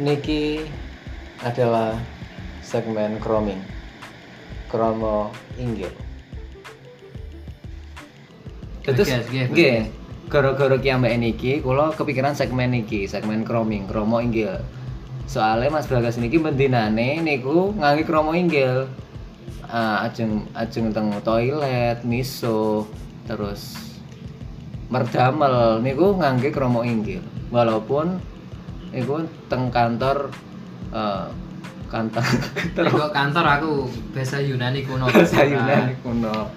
Niki adalah segmen Chroming. Kromo Inggil. Terus Oke, oke, oke. nggih, gara-gara ki ambek niki kula kepikiran segmen niki, segmen croming, kromo inggil. Soalnya Mas Bagas niki bendinane niku ngangge kromo inggil. Ah, ajeng ajeng teng toilet, miso, terus merdamel niku ngangge kromo inggil. Walaupun niku teng kantor eh, kantor Nek kantor kok kantor aku bahasa Yunani kuno. bahasa Nah, Yunani kuno.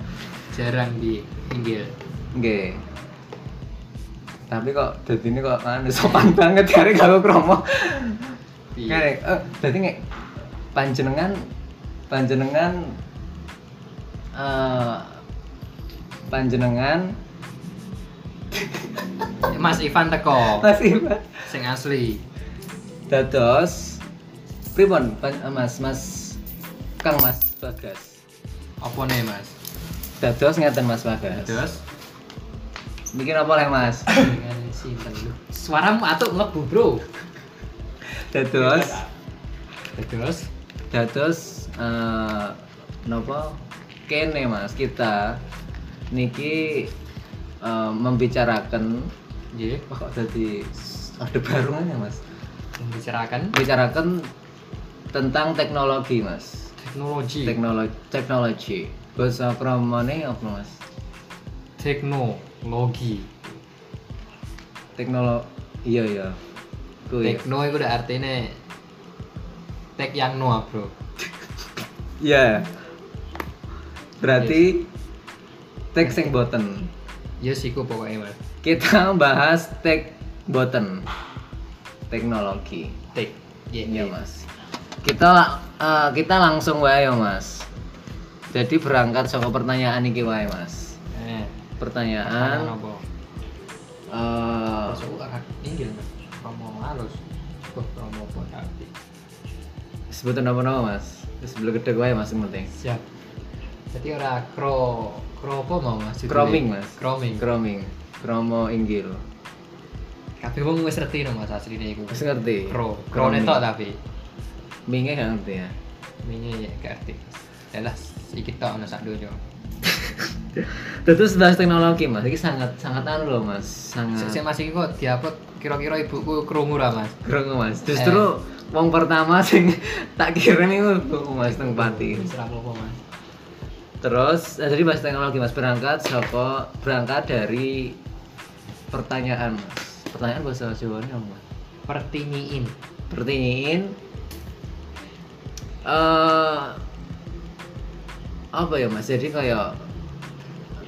Jarang di Inggil. Nggih. Tapi kok dadi ini kok anu sopan banget kare kalau kromo. Kare, Iya. eh dadi nek panjenengan panjenengan eh panjenengan Mas Ivan teko masih Mas. sing asli. dados pripun pan- eh, Mas Mas Kang Mas Bagas. Apa nih Mas? Dados ngeten Mas Bagas. Terus Mikir apa leh Mas? dengan sinten lu? Suaramu atuk mlebu, Bro. Dados Terus dados eh napa kene mas kita niki eh, membicarakan nggih wah kok jadi ada barungan ya mas membicarakan membicarakan tentang teknologi mas teknologi. teknologi teknologi bahasa kramane apa mas Teknologi. teknologi iya iya kuwi Tekno itu udah artinya tek yang noa, Bro. iya berarti tek sing boten Ya yes, iku pokoknya, Mas. kita bahas tek boten teknologi Tek. iya mas kita la- eh, kita langsung wae yo mas jadi berangkat saka pertanyaan iki wae mas Eh, pertanyaan apa? eh, Masuk agak inggil, Mas. Promo halus. Wah, promo berarti. sebutan apa nama mas sebelum gede wae mas yang penting Siap. Jadi ora kro kro apa mau Mas? judulnya? Croming, Mas. Croming. Kroming kromo inggil Kabeh wong wis ngerti no Mas asline iku. wis ngerti Kro. Kro Croming. netok tapi minge gak ngerti ya ini ya gak ngerti. Yalah, sedikit tok ono sak dojo. terus bahas teknologi mas ini sangat sangat anu loh mas sangat Sik Mas iki kok diupload kira-kira ibuku krungu ra Mas? Krungu mas, justru wong pertama sing tak kirim itu krungu mas teng Pati. Wis ra apa Mas. Terus eh, jadi bahas teknologi mas berangkat saka berangkat dari pertanyaan mas. Pertanyaan bahasa Jawa ini apa? Mas? Pertinyiin. Pertanyaan eh apa ya mas? Jadi kayak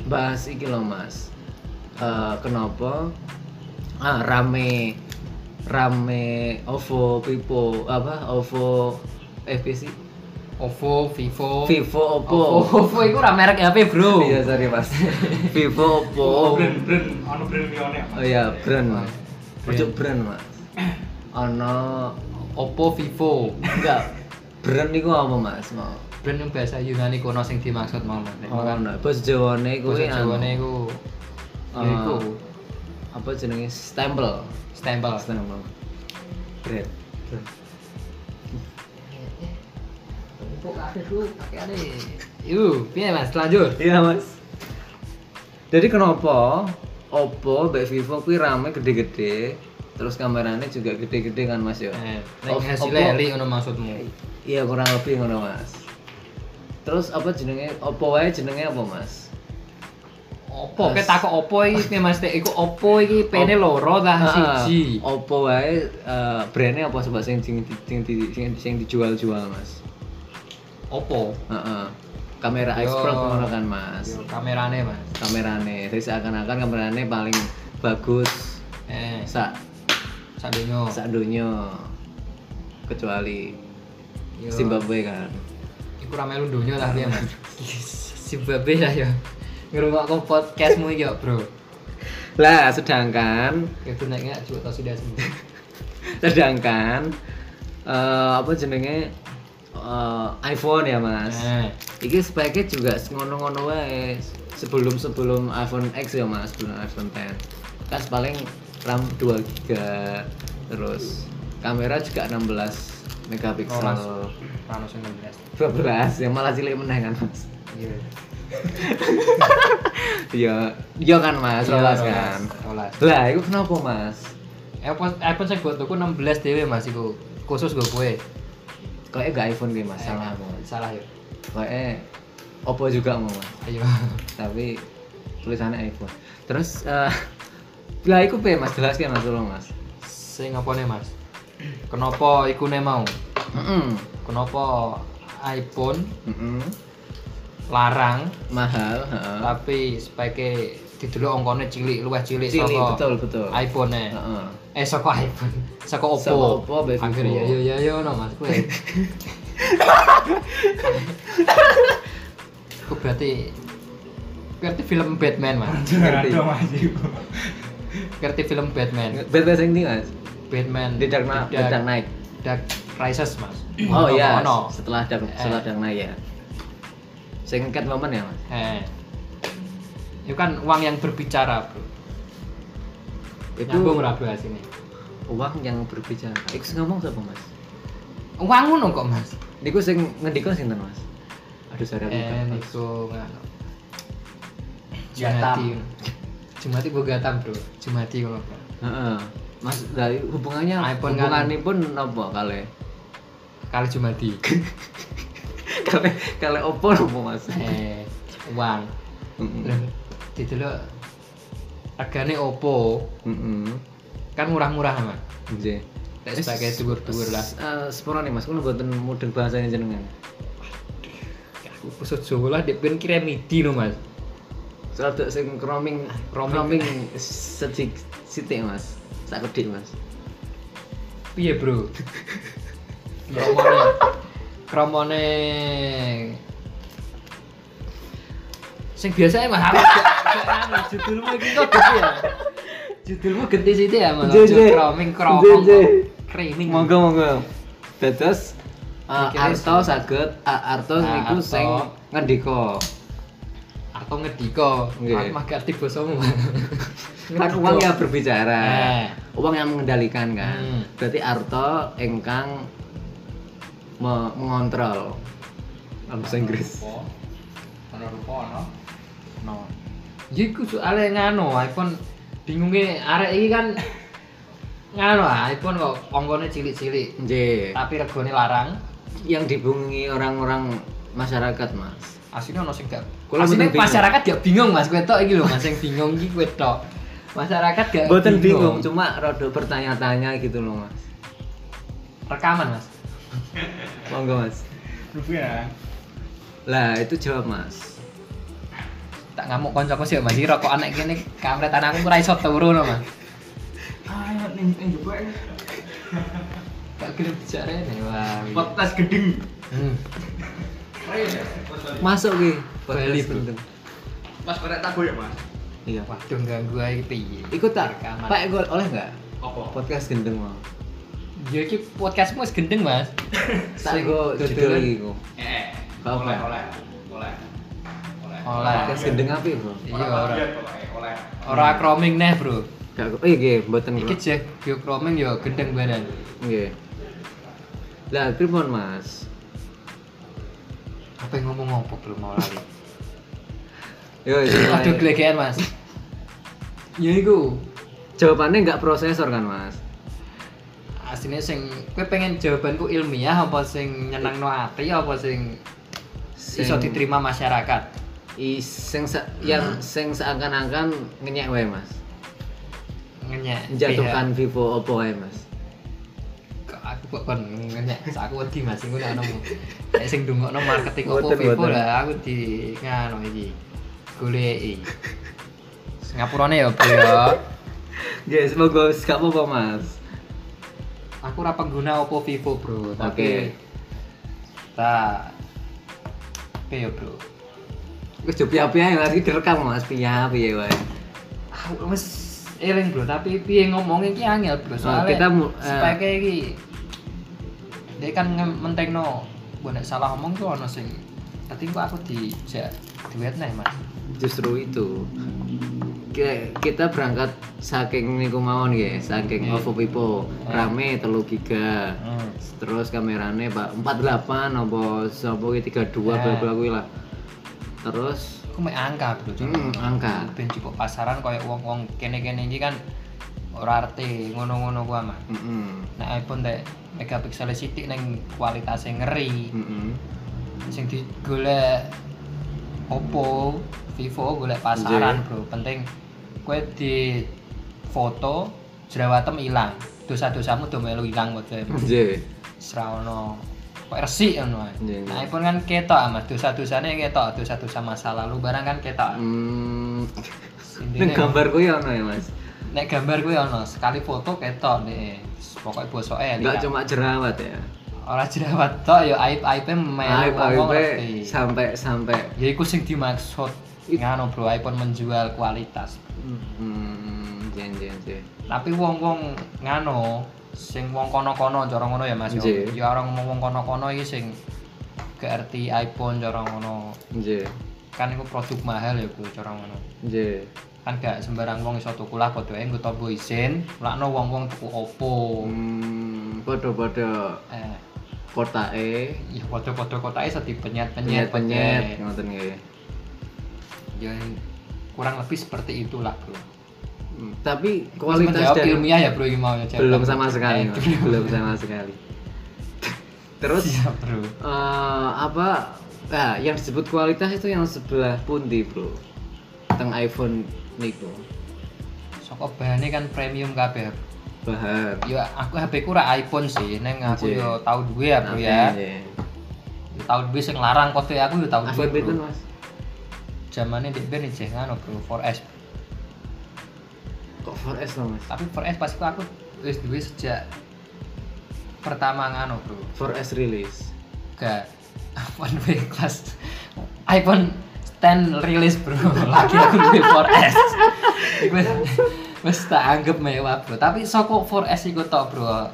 bahas iki loh mas. Eh, kenapa ah, rame rame OVO Vivo apa OVO eh sih Ovo, Vivo. Vivo Ovo, Oppo Ovo iku ra merek HP, Bro. iya sorry mas Vivo Oppo brand ono brand liyane oh iya brand mas Brand. ojo brand mas ono Oppo Vivo. enggak brand niku apa mas mau Brand yang bahasa Yunani kuno sing dimaksud mau Mas. Nek oh makan no bos jawane bahasa kuwi anu, Jawane iku Ah. ya iku apa jenenge stempel stempel. stempel brand Empuk kabeh ku pakaiane. Iku piye Mas lanjut? iya mas jadi kenapa Oppo mbek Vivo kuwi rame gede-gede terus kameranya juga gede-gede kan mas yo Eh, Op- nek Oppo- hasilnya eli ngono maksudmu. Iya kurang lebih ngono mas. Terus apa jenenge? Oppo wae jenenge apa mas? Oppo, kowe takok Oppo iki piye Mas? Tek, Iku Oppo iki pene loro ta siji. Ah, Oppo wae eh, brandnya apa sebab sing sing sing sing, sing, sing dijual-jual mas. Oppo. Heeh. Kamera Yo. iPhone ngono kan mas. Yo, Kamerane Mas. Kamerane, jadi seakan-akan kamerane paling bagus Eh, sak sak donya. sak donya kecuali Yo. Zimbabwe kan. Iku ra melu donya lah piye Mas. Zimbabwe lah ya. Ngrungokno podcastmu iki yo, Bro. Lah sedangkan Itu nek nggak juga tau sudah sembuh. sedangkan eh, apa jenenge eh, iPhone ya mas Eh, iki speknya juga ngono-ngono wae sebelum sebelum iPhone X ya mas sebelum iPhone X kan paling RAM 2 GB terus kamera juga 16 megapiksel Rolas. Panos 16. 12 ya malah cilik meneh kan mas Iya. iya iya kan mas rolas Iya, kan Rolas. lah itu kenapa mas iPhone iPhone sing buat tuku 16 dhewe Mas iku. Khusus gue kowe. kayaknya gak iPhone deh mas salah mas Salah ya. kayaknya Oppo juga mau mas Ayo. tapi tulisannya iPhone terus eh lah itu pe mas jelas mas tolong mas Sing apa nih Mas? Kenapa iku nih mau? Mm-mm. Kenapa iPhone Mm-mm. larang Mm-hmm. mahal heeh. tapi speknya didelok angkone cilik, luwih cilik Cilik, saka betul, betul. iPhone-e. Heeh. Eh saka iPhone, saka Oppo. Saka Oppo, mbek Hampir Vivo. ya yo ya yo no Mas kowe. Ku berarti ngerti film Batman Mas. Ngerti. Aduh, Mas, iku. Ngerti film Batman. Beda sing ini mas Batman di Dark Knight Dark, Dark Knight Dark Rises Mas. oh iya Ono. setelah Dark Eh. setelah Dark Knight ya sing Catwoman ya mas Eh. Itu kan uang yang berbicara, Bro. itu Nyambung ora bahas ini. uang yang berbicara itu sing ngomong siapa mas Uang ngono kok, Mas. niku sing ngendika sinten mas aduh sorry aku Eh, lupa. niku ngono. Gatam. Jumati. Jumati gua gatam, Bro. Jumati ngono. Bro. Heeh. mas dari hubungannya iPhone kan. hubungannya pun apa kali Kali Jumati. kali kali opo apa mas eh, uang. Mm-mm. Lah, didelok regane opo? Mm-mm. Kan murah-murah, Mas. Nggih. Tek sebagai dhuwur-dhuwur lah. Eh, sepuro nih mas, kalau buatan mudeng bahasanya jenengan Aku pusut Jawa lah, dek ben kira midi no, Mas. Soal tuh sing roaming Roaming. roaming sedik sitik mas, sak kedik mas. Piye, Bro? Kromone. Kromone. Sing biasanya mah apa? Judulmu iki kok gede ya. Judulmu gede sih ya, Mas. Jek, jek. Kroming Jek, kromong. jek. Kriming. Monggo monggo. Dados uh, Mikirnya Arto saged A- Arto Ah, niku Arto. sing ngendika. Atau ngedika. Nggih. Aku mah gak ngerti basamu. Kan uang yang berbicara. Eh. Uang yang mengendalikan kan. Hmm. Berarti Arto engkang me- mengontrol dalam bahasa Inggris. Opo. Ono rupa ono. No. Ya iku soalnya ngano iPhone bingungnya arek iki kan ngano ah, iPhone kok ongkone cilik-cilik Nggih. tapi regone larang. Yang dibungi orang-orang masyarakat, Mas. Aslinya ono sing gak. Kulo Aslinya mboten bingung. masyarakat gak bingung Mas, kowe tok iki lho Mas sing bingung iki kowe tok. Masyarakat gak Boten bingung, cuma rada bertanya-tanya gitu loh, Mas. rekaman Mas. Monggo, Mas. Rupiah. Lah, itu jawab, Mas. Tak ngamuk koncoku sih Mas, iki rokok anak kene kamret anakku ora iso turu no Mas. Ayo ning ning jebak. Gak gelem dijarene wah. Podcast gedeng. Hmm. Masuk ki. Bali, Bro. Mas korek tak ya, Mas. Iya, Pak. Waduh ganggu ae iki piye. Ikut tak? Rekaman. Pak, ikut oleh nggak? Opo? Podcast gendeng mau. Ya iki podcastmu wis gendeng, Mas. Tak Sing go judul dodolan. lagi ku. Eh. Apa? Oleh, oleh. Oleh. Oleh. Oleh. Podcast gendeng apa ya, bro? Iya, Orang ora. bagian, pokoknya. Oleh. Ora croming neh, Bro. Gak oh iya, nggih, mboten Iki kok. jek yo croming yo gendeng badan. Nggih. Lah, pripun Mas? Apa yang ngomong ngopo belum mau lali. Yo, yo, yo. Aduh gelegean, Mas. Ya iku. Jawabannya nggak prosesor kan, Mas? Aslinya sing kowe pengen jawabanku ilmiah apa sing nyenengno ati apa sing Sing- iso diterima masyarakat. I, sing se- yang sing seakan-akan ngenyek wae, Mas. Ngenyek. Jatuhkan Vivo Oppo wae, Mas. Kok aku kok kon ngenyek sak aku wedi Mas iku nek nemu. Nek sing dungokno marketing opo Boten, Vivo boten. lah aku di ngano iki. Goleki. Singapurane ya bro ya. Guys, semoga gak apa-apa, Mas. Aku ora pengguna Oppo Vivo, Bro, tapi Oke. ta Oke ya, Bro. Wis yo piye-piye Mas, iki direkam Mas, piye-piye wae. Aku wis eling, Bro, tapi piye ngomongnya iki angel, Bro. Soalnya kita mu- eh. speknya iki dia kan nge- mentekno gua nek salah ngomong tuh ono sing tapi kok aku di ja, duet nih mas Justru itu. ki- kita berangkat saking niku mawon nggih, saking Iya. OVO Pipo. Rame 3 giga. Hmm. Terus kamerane Pak 48 apa sapa ki 32 Eh. bla bla kuwi lah. Terus Aku mau angka bro. Cuk. Hmm, angka. Ben cukup pasaran kayak uang-uang kene-kene iki kan ora arti ngono-ngono ku aman. heeh. Nek iPhone tek megapiksel sithik neng kualitasnya ngeri. Heeh. Sing digolek Oppo, Vivo golek pasaran, Bro. Penting kowe di foto jerawatan ilang. Dosa-dosamu do melu ilang wae. Nggih. Serawono kok resik ngono ae. Iya, iya. Nah, iPhone kan ketok ah, Mas. Dosa-dosane ketok, dosa-dosa masa lalu barang kan ketok. Hmm. Ning Intine gambar kuwi ono ya, Mas. nek gambar kuwi ono sekali foto ketok nih. Pokoke bosoke ya. Enggak cuma jerawat ya. ora jerawat tok ya aib-aibe melu wong-wong Aib-aibnya ngerti. sampai sampai Ya iku sing dimaksud ngano bro iPhone menjual kualitas. hmm jen jen jen. Tapi wong-wong ngano sing wong kono-kono cara ngono ya Mas. yo. Nggih. Ya orang ngomong wong kono-kono iki sing GRT iPhone cara ngono. Nggih. Kan iku produk mahal ya bro cara ngono. Nggih. Kan gak sembarang wong iso tuku lah padha ae nggo tombo isin, lakno wong-wong tuku Oppo. Hmm, padha-padha Eh, kotake ya padha-padha kotae sedih penyet-penyet. penyet-penyet ngoten nggih. Ya kurang lebih seperti itulah bro. Hmm, Tapi kualitas kualitas dari ilmiah ya bro ini mau jawab. belum sama sekali, Eh, Mas. belum. belum sama sekali. Terus Siap, bro eh, apa nah, yang disebut kualitas itu yang sebelah pundi, Bro? Teng iPhone niku. Soko bahannya kan premium kabeh. Bahan. Ya aku HP ku ora iPhone sih, neng aku Iya. yo tau duwe ya bro Nah, ya. Yo Tau duwe sing larang kok ya aku yo tau iPhone duwe. itu, bro. Mas. Zamane ndek ben jeh ngono anu, bro 4S. Kok 4S loh, Mas? Tapi 4S pas iku aku wis duwe sejak pertama ngono bro. 4S rilis. Gak iPhone B kelas iPhone 10 rilis bro lagi aku duwe 4S Iku wis- wis tak anggap mewah bro tapi soko 4S iku tok bro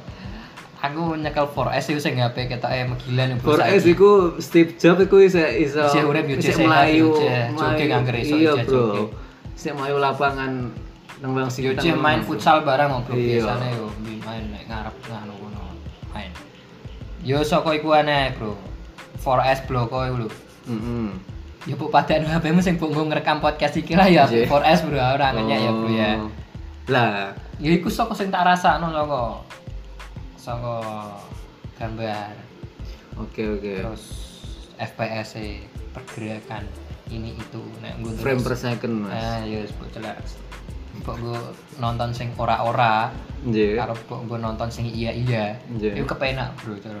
aku nyekel 4S iku sing HP ketoke megilan bro 4S saiki. iku Steve Jobs iku iso iso Isih urip yo, isih isih mlayu sehat, yo, isih jogging angger Iya, iso, isih jogging. Bro. Isih mlayu lapangan nang Bang yo Sintang, cih Bang. main futsal bareng mau bro Iya. biasane yo main nek ngarep ngono ngono main yo soko iku aneh bro 4S bloko iku lho Mm-mm. Ya bu padan HP-mu sing mbok nggo ngerekam podcast iki lah ya Nggih. 4S bro ora ngenyek ya bro ya. Iya. Oh. Lah, ya iku saka sing tak rasakno saka saka gambar oke oke. terus FPS -e, pergerakan ini itu nek nggo Frame per second, Mas. nah ya wis mbok celak mbok nggo nonton sing ora-ora Nggih. karo mbok nggo nonton sing iya-iya Iya. iku kepenak bro cara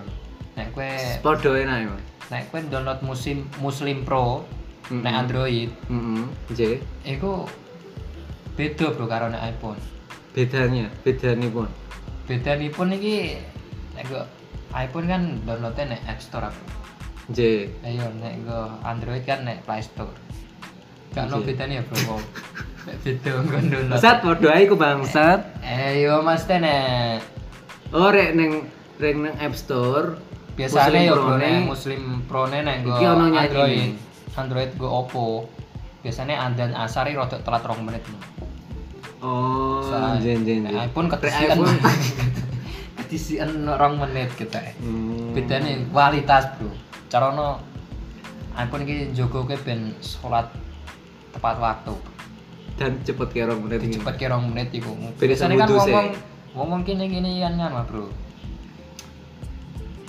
nek kowe Padha enak, ya, Mas. nek kowe download musim Muslim Pro Mm-mm. nek Android Heeh. Nggih. iku beda bro karo nek iPhone Bedanya, bedanipun. beda nih pun iki nek go iPhone kan downloadnya nek App Store aku Nggih. ayo nek go Android kan nek Play Store gak ono Oke. bedanya bro wong nek beda nggo download Bangsat padha ae ku bangsat. ayo mas teh nek Oh, rek ning rek ning App Store Muslim biasanya yo Pro-ne. ya, bro nek Muslim Pro nek nek go Iki ono nyanyi Android nih. Android go Oppo biasanya andan asari rodok telat rong menit Oh, nggih nggih nggih. Nek iPhone Rek ketisian iPhone. ketisian rong menit kita Hmm. bedane kualitas bro carane iPhone iki njogo ke ben sholat tepat waktu dan cepet kira menit ini. cepet ke rong menit iku Ben iso biasanya kan wudhu Iya. sih. ngomong ngomong kini kini kan kan mah bro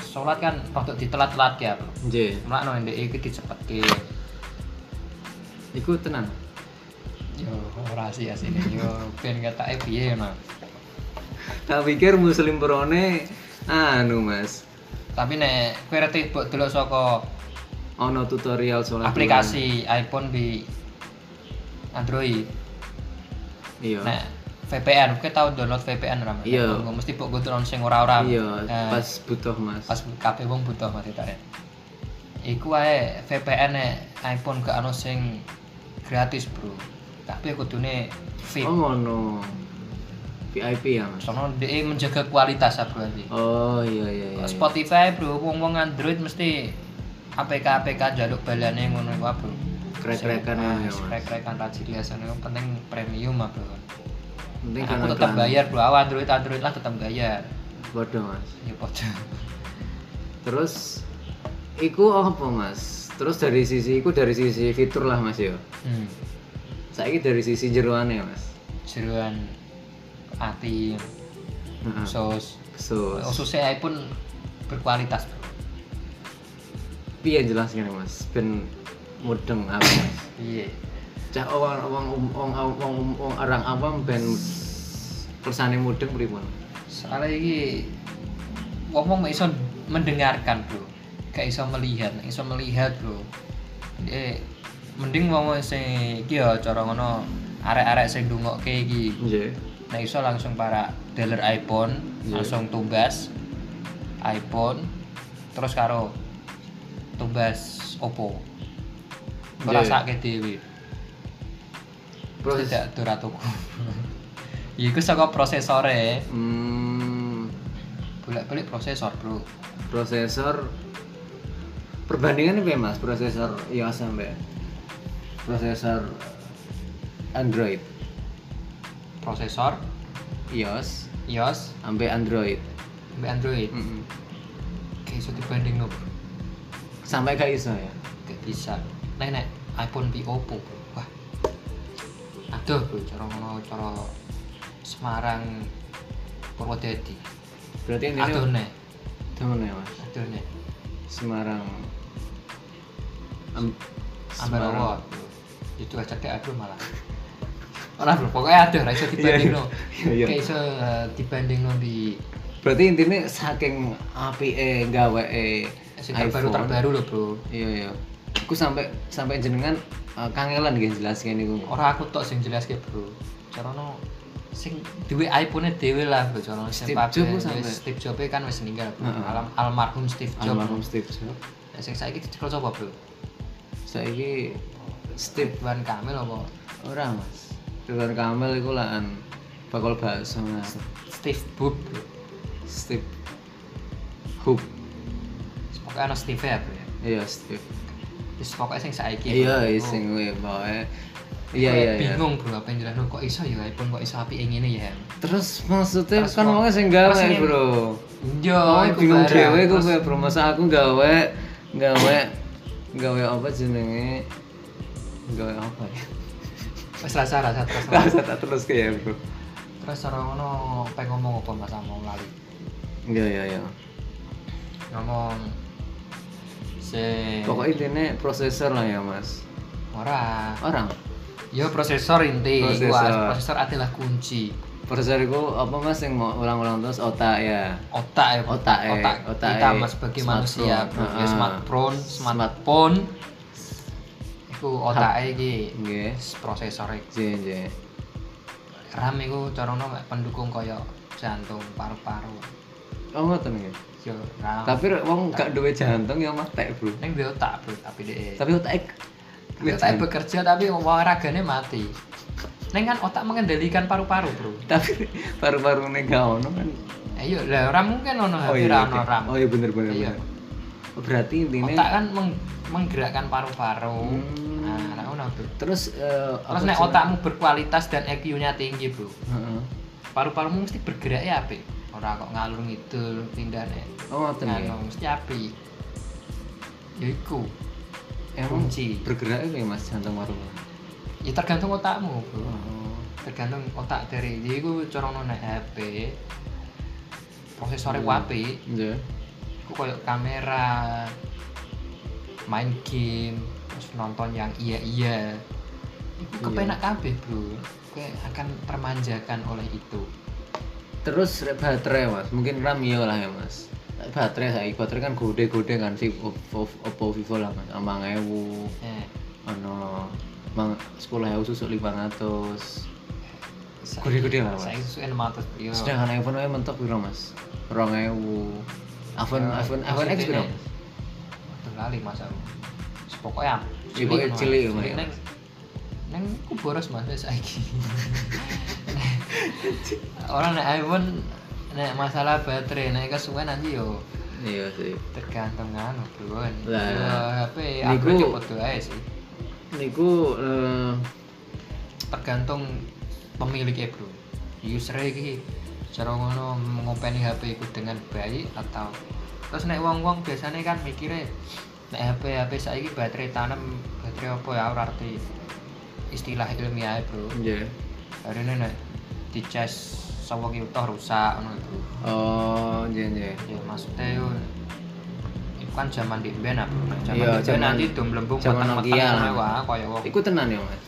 sholat kan waktu ditelat-telat ya bro Nggih. makno ndek iki dicepet ke Iku tenang. yo ora sih asine yo ben ketake piye yo nah Tak pikir muslim prone anu Mas. tapi nek kowe reti mbok delok saka Ono tutorial soal aplikasi iPhone di Android Iya. Nah, VPN, kowe tau download VPN ra? Mas? Iya. Nggo mesti mbok turun sing ora-ora. Iya, Nah, pas butuh Mas. pas kabeh wong butuh mati tak. ya. Iku ae VPN e iPhone gak ono sing gratis, Bro. Tapi kudune fit. Oh ngono. VIP ya Mas. Sono dhek menjaga kualitas ya, Bro. nanti. Oh iya iya iya. iya. Spotify, Bro, wong-wong Android mesti APK-APK njaluk balane ngono iku, Bro. rek-rekan Nah, ngono ya, wis Mas. rek-rekan ra jiliasan yang penting premium mah bro Nah, Penting aku kan tetap bayar bro awal android android lah tetap bayar Bodoh, Mas. ya podo Terus iku apa, Mas? Terus dari sisi iku dari sisi fitur lah, Mas ya. hmm. Saiki dari sisi jeroane, Mas. jeruan ati Heeh. Hmm. sos So, khususnya iPhone berkualitas bro piye jelasnya Mas? Ben mudeng apa, Mas? iya Cak orang orang orang orang orang orang awam ben persane mudeng pripun? soalnya ini ngomong nggak iso mendengarkan bro gak iso melihat nggak iso melihat bro eh mending ngomong sing iki ya cara ngono arek-arek sing ndongokke iki Nggih. nah iso langsung para dealer iPhone Iya. langsung tumbas iPhone terus karo tumbas Oppo Iya. Ora sakit dhewe. Proses Tidak ora tuku. Ya iku saka prosesore, hmm, bolak-balik prosesor, Bro. prosesor perbandingannya piye Mas? Prosesor iOS sampe prosesor Android. Prosesor iOS iOS sampai Android. mbek Android. Hmm. Kayak iso dibanding no, Bro. Sampai gak iso ya. Gak bisa. Nek nek iPhone pi Oppo, Bro. Wah. Aduh, Bro, cara ngono cara Semarang Purwodadi. Berarti ini Aduh nek, temen ya Mas. aduh nek. Semarang. Am- Ambarawa. Itu aja kayak aduh malah. Ora bro, pokoknya aduh, ra iso dibandingno. iya. Kayak iso eh, dibandingno di Berarti intinya saking api eh gawe eh sing terbaru terbaru loh bro. Iya iya. Aku sampai sampai jenengan eh, kangelan gitu jelaskan itu. Ora aku tok sing jelas ke bro. Carane sing duwe iPhone dhewe lah bro, carane Steve sing pabrik, Jobs ku sampe. wis Steve Jobs kan wis meninggal bro. Heeh. Alam, almarhum Steve Jobs. Almarhum Steve Jobs. Nah, sing saiki dicekel sapa bro? Saiki Steve Ridwan Kamil apa? ora Mas. Ridwan Kamil iku lahan bakul bakso Mas. Steve Bob bro. Steve Hook. Pokoknya ana Steve ya bro. ya. Iya Steve. Wis pokoknya sing saiki. bro. Iya, Oh. sing kuwi pokoke. Iya, iya, iya. bingung bro apa yang jalan kok iso ya iPhone kok iso api yang ini ya Terus maksudnya Terus kan kok- wong sing gawe, terus ini- Bro. yo Oh, iku bingung barang. dhewe iku Terus kowe, Bro. Masa aku gawe gawe gawe apa jenenge? Gawe apa ya? wis rasa rasa terus Rasa tak terus ke ya, Bro. terus orang ngono pengen ngomong apa mas mau lali Iya, iya, iya. ngomong se Pokoknya intine prosesor lah ya, Mas. ora Orang. yo prosesor inti Prosesor. Wah, prosesor adalah kunci Prosesor itu apa Mas yang mau ulang-ulang terus otak ya. otak ya Bro. Otak, eh. otak, Otak, kita eh. mas sebagai Smartphone. manusia bro. Ya, Ah. smartphone smartphone itu otak iki Nggih. prosesor iki. Jeng, jeng. RAM iku carane mek pendukung kaya jantung, paru-paru. Oh, ngoten nggih. Yo RAM. Tapi wong gak duwe jantung ya mati, Bro. ning dia otak bro, tapi dhek. Tapi otak Otak bekerja tapi olahragane mati. Ning kan otak mengendalikan paru-paru, Bro. tapi paru-paru nih gak ono kan Ayo, Eh, lah RAM mungkin ono tapi ra ono oke. RAM. oh iya bener bener Iya. bener. berarti intinya Otak kan meng- menggerakkan paru-paru. Hmm. Nah, nah, ngono, Bro. terus eh, Terus apa nek sih? otakmu berkualitas dan IQ-nya tinggi, Bro. Heeh. Paru-parumu mesti bergerak ya apik. Ora kok ngalur ngidul pindahne. oh ngoten ya Ngono mesti apik. Ya iku. emang kunci. bergeraknya kayak mas jantung paru-paru ya tergantung otakmu bro oh. tergantung otak dari ya jadi gue corong nona HP prosesornya hmm. HP iya gue kayak kamera main game terus nonton yang iya iya itu kepenak kabeh bro gue akan termanjakan oleh itu terus rek baterai mas mungkin ram iya lah ya mas Rek baterai saya baterai kan gode-gode kan sih Oppo, Oppo Vivo lah mas amang ewu eh, ono mang sepuluh ewu susuk lima ratus saya- Gede-gede lah, Mas. saya suka enam ratus yo sedangkan iPhone aja mentok piro mas rong ewu iPhone Ya, iPhone iPhone X piro mas Aduh, lali mas aku pokoknya Ya, pokoknya Mas. cilik, Mas. neng neng aku boros mas saya saiki orang naik iPhone naik masalah baterai naik kesuwen nanti yo iya sih tergantung anu bro Lah. Yo, HP Niku- aku coba dua aja sih niku eh, tergantung pemiliknya bro user iki cara ngono ngopeni HP iku dengan baik atau terus nek wong-wong biasanya kan mikirnya nek HP HP saiki baterai tanam baterai apa ya ora arti istilah ilmiah bro ya hari ini nek di cas sawo ki utuh rusak ngono bro oh ya ya ya maksudnya yo itu kan zaman di ben bro Nek zaman Iya, di ben zaman- nanti dom lembung zaman Nokia lah. wah koyo wong iku tenan ya mas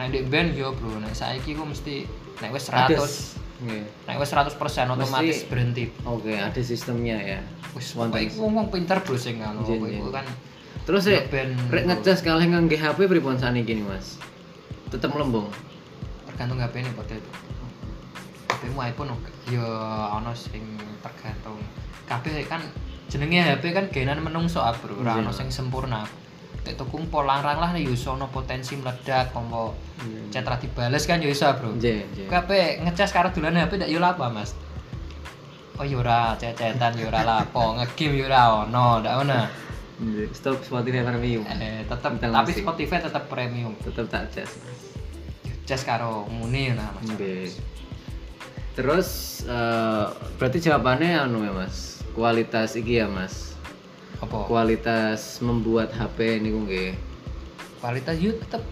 nek di ben yo bro nek saiki ku mesti nek wis 100 Ades. Nggih. Nek wis 100% otomatis Mesti- berhenti. oke ada sistemnya ya Wis Wonten. pokoke iku wong pinter bro sing ngono. Jen, Pokoke jen. iku kan terus rek Ben- rek ngecas kalih ngangge HP pripun saniki nih mas tetep melembung tergantung HP ne padha itu. HP-mu iPhone oke. ya ono sing tergantung. Kabeh kan jenenge HP kan genan menungso ah, bro. Ora ono sing sempurna. Tek tuku polarang lah ya iso ono potensi meledak ompo chat ra dibales kan ya iso ah, bro. ya ya Kabeh ngecas karo dolan HP ndak yo ya apa Mas. Oh yo ora cecetan yo ora lapo, ngegame yo ora ono, ndak ono. stop Spotify premium eh tetap Tentang tapi musik. Spotify tetap premium tetep tak cas mas just karo ngene nah mas Oke. Terus eh, berarti jawabannya anu ya Mas. Kualitas iki ya Mas. apa Kualitas membuat HP niku nggih. kualitas yo tetap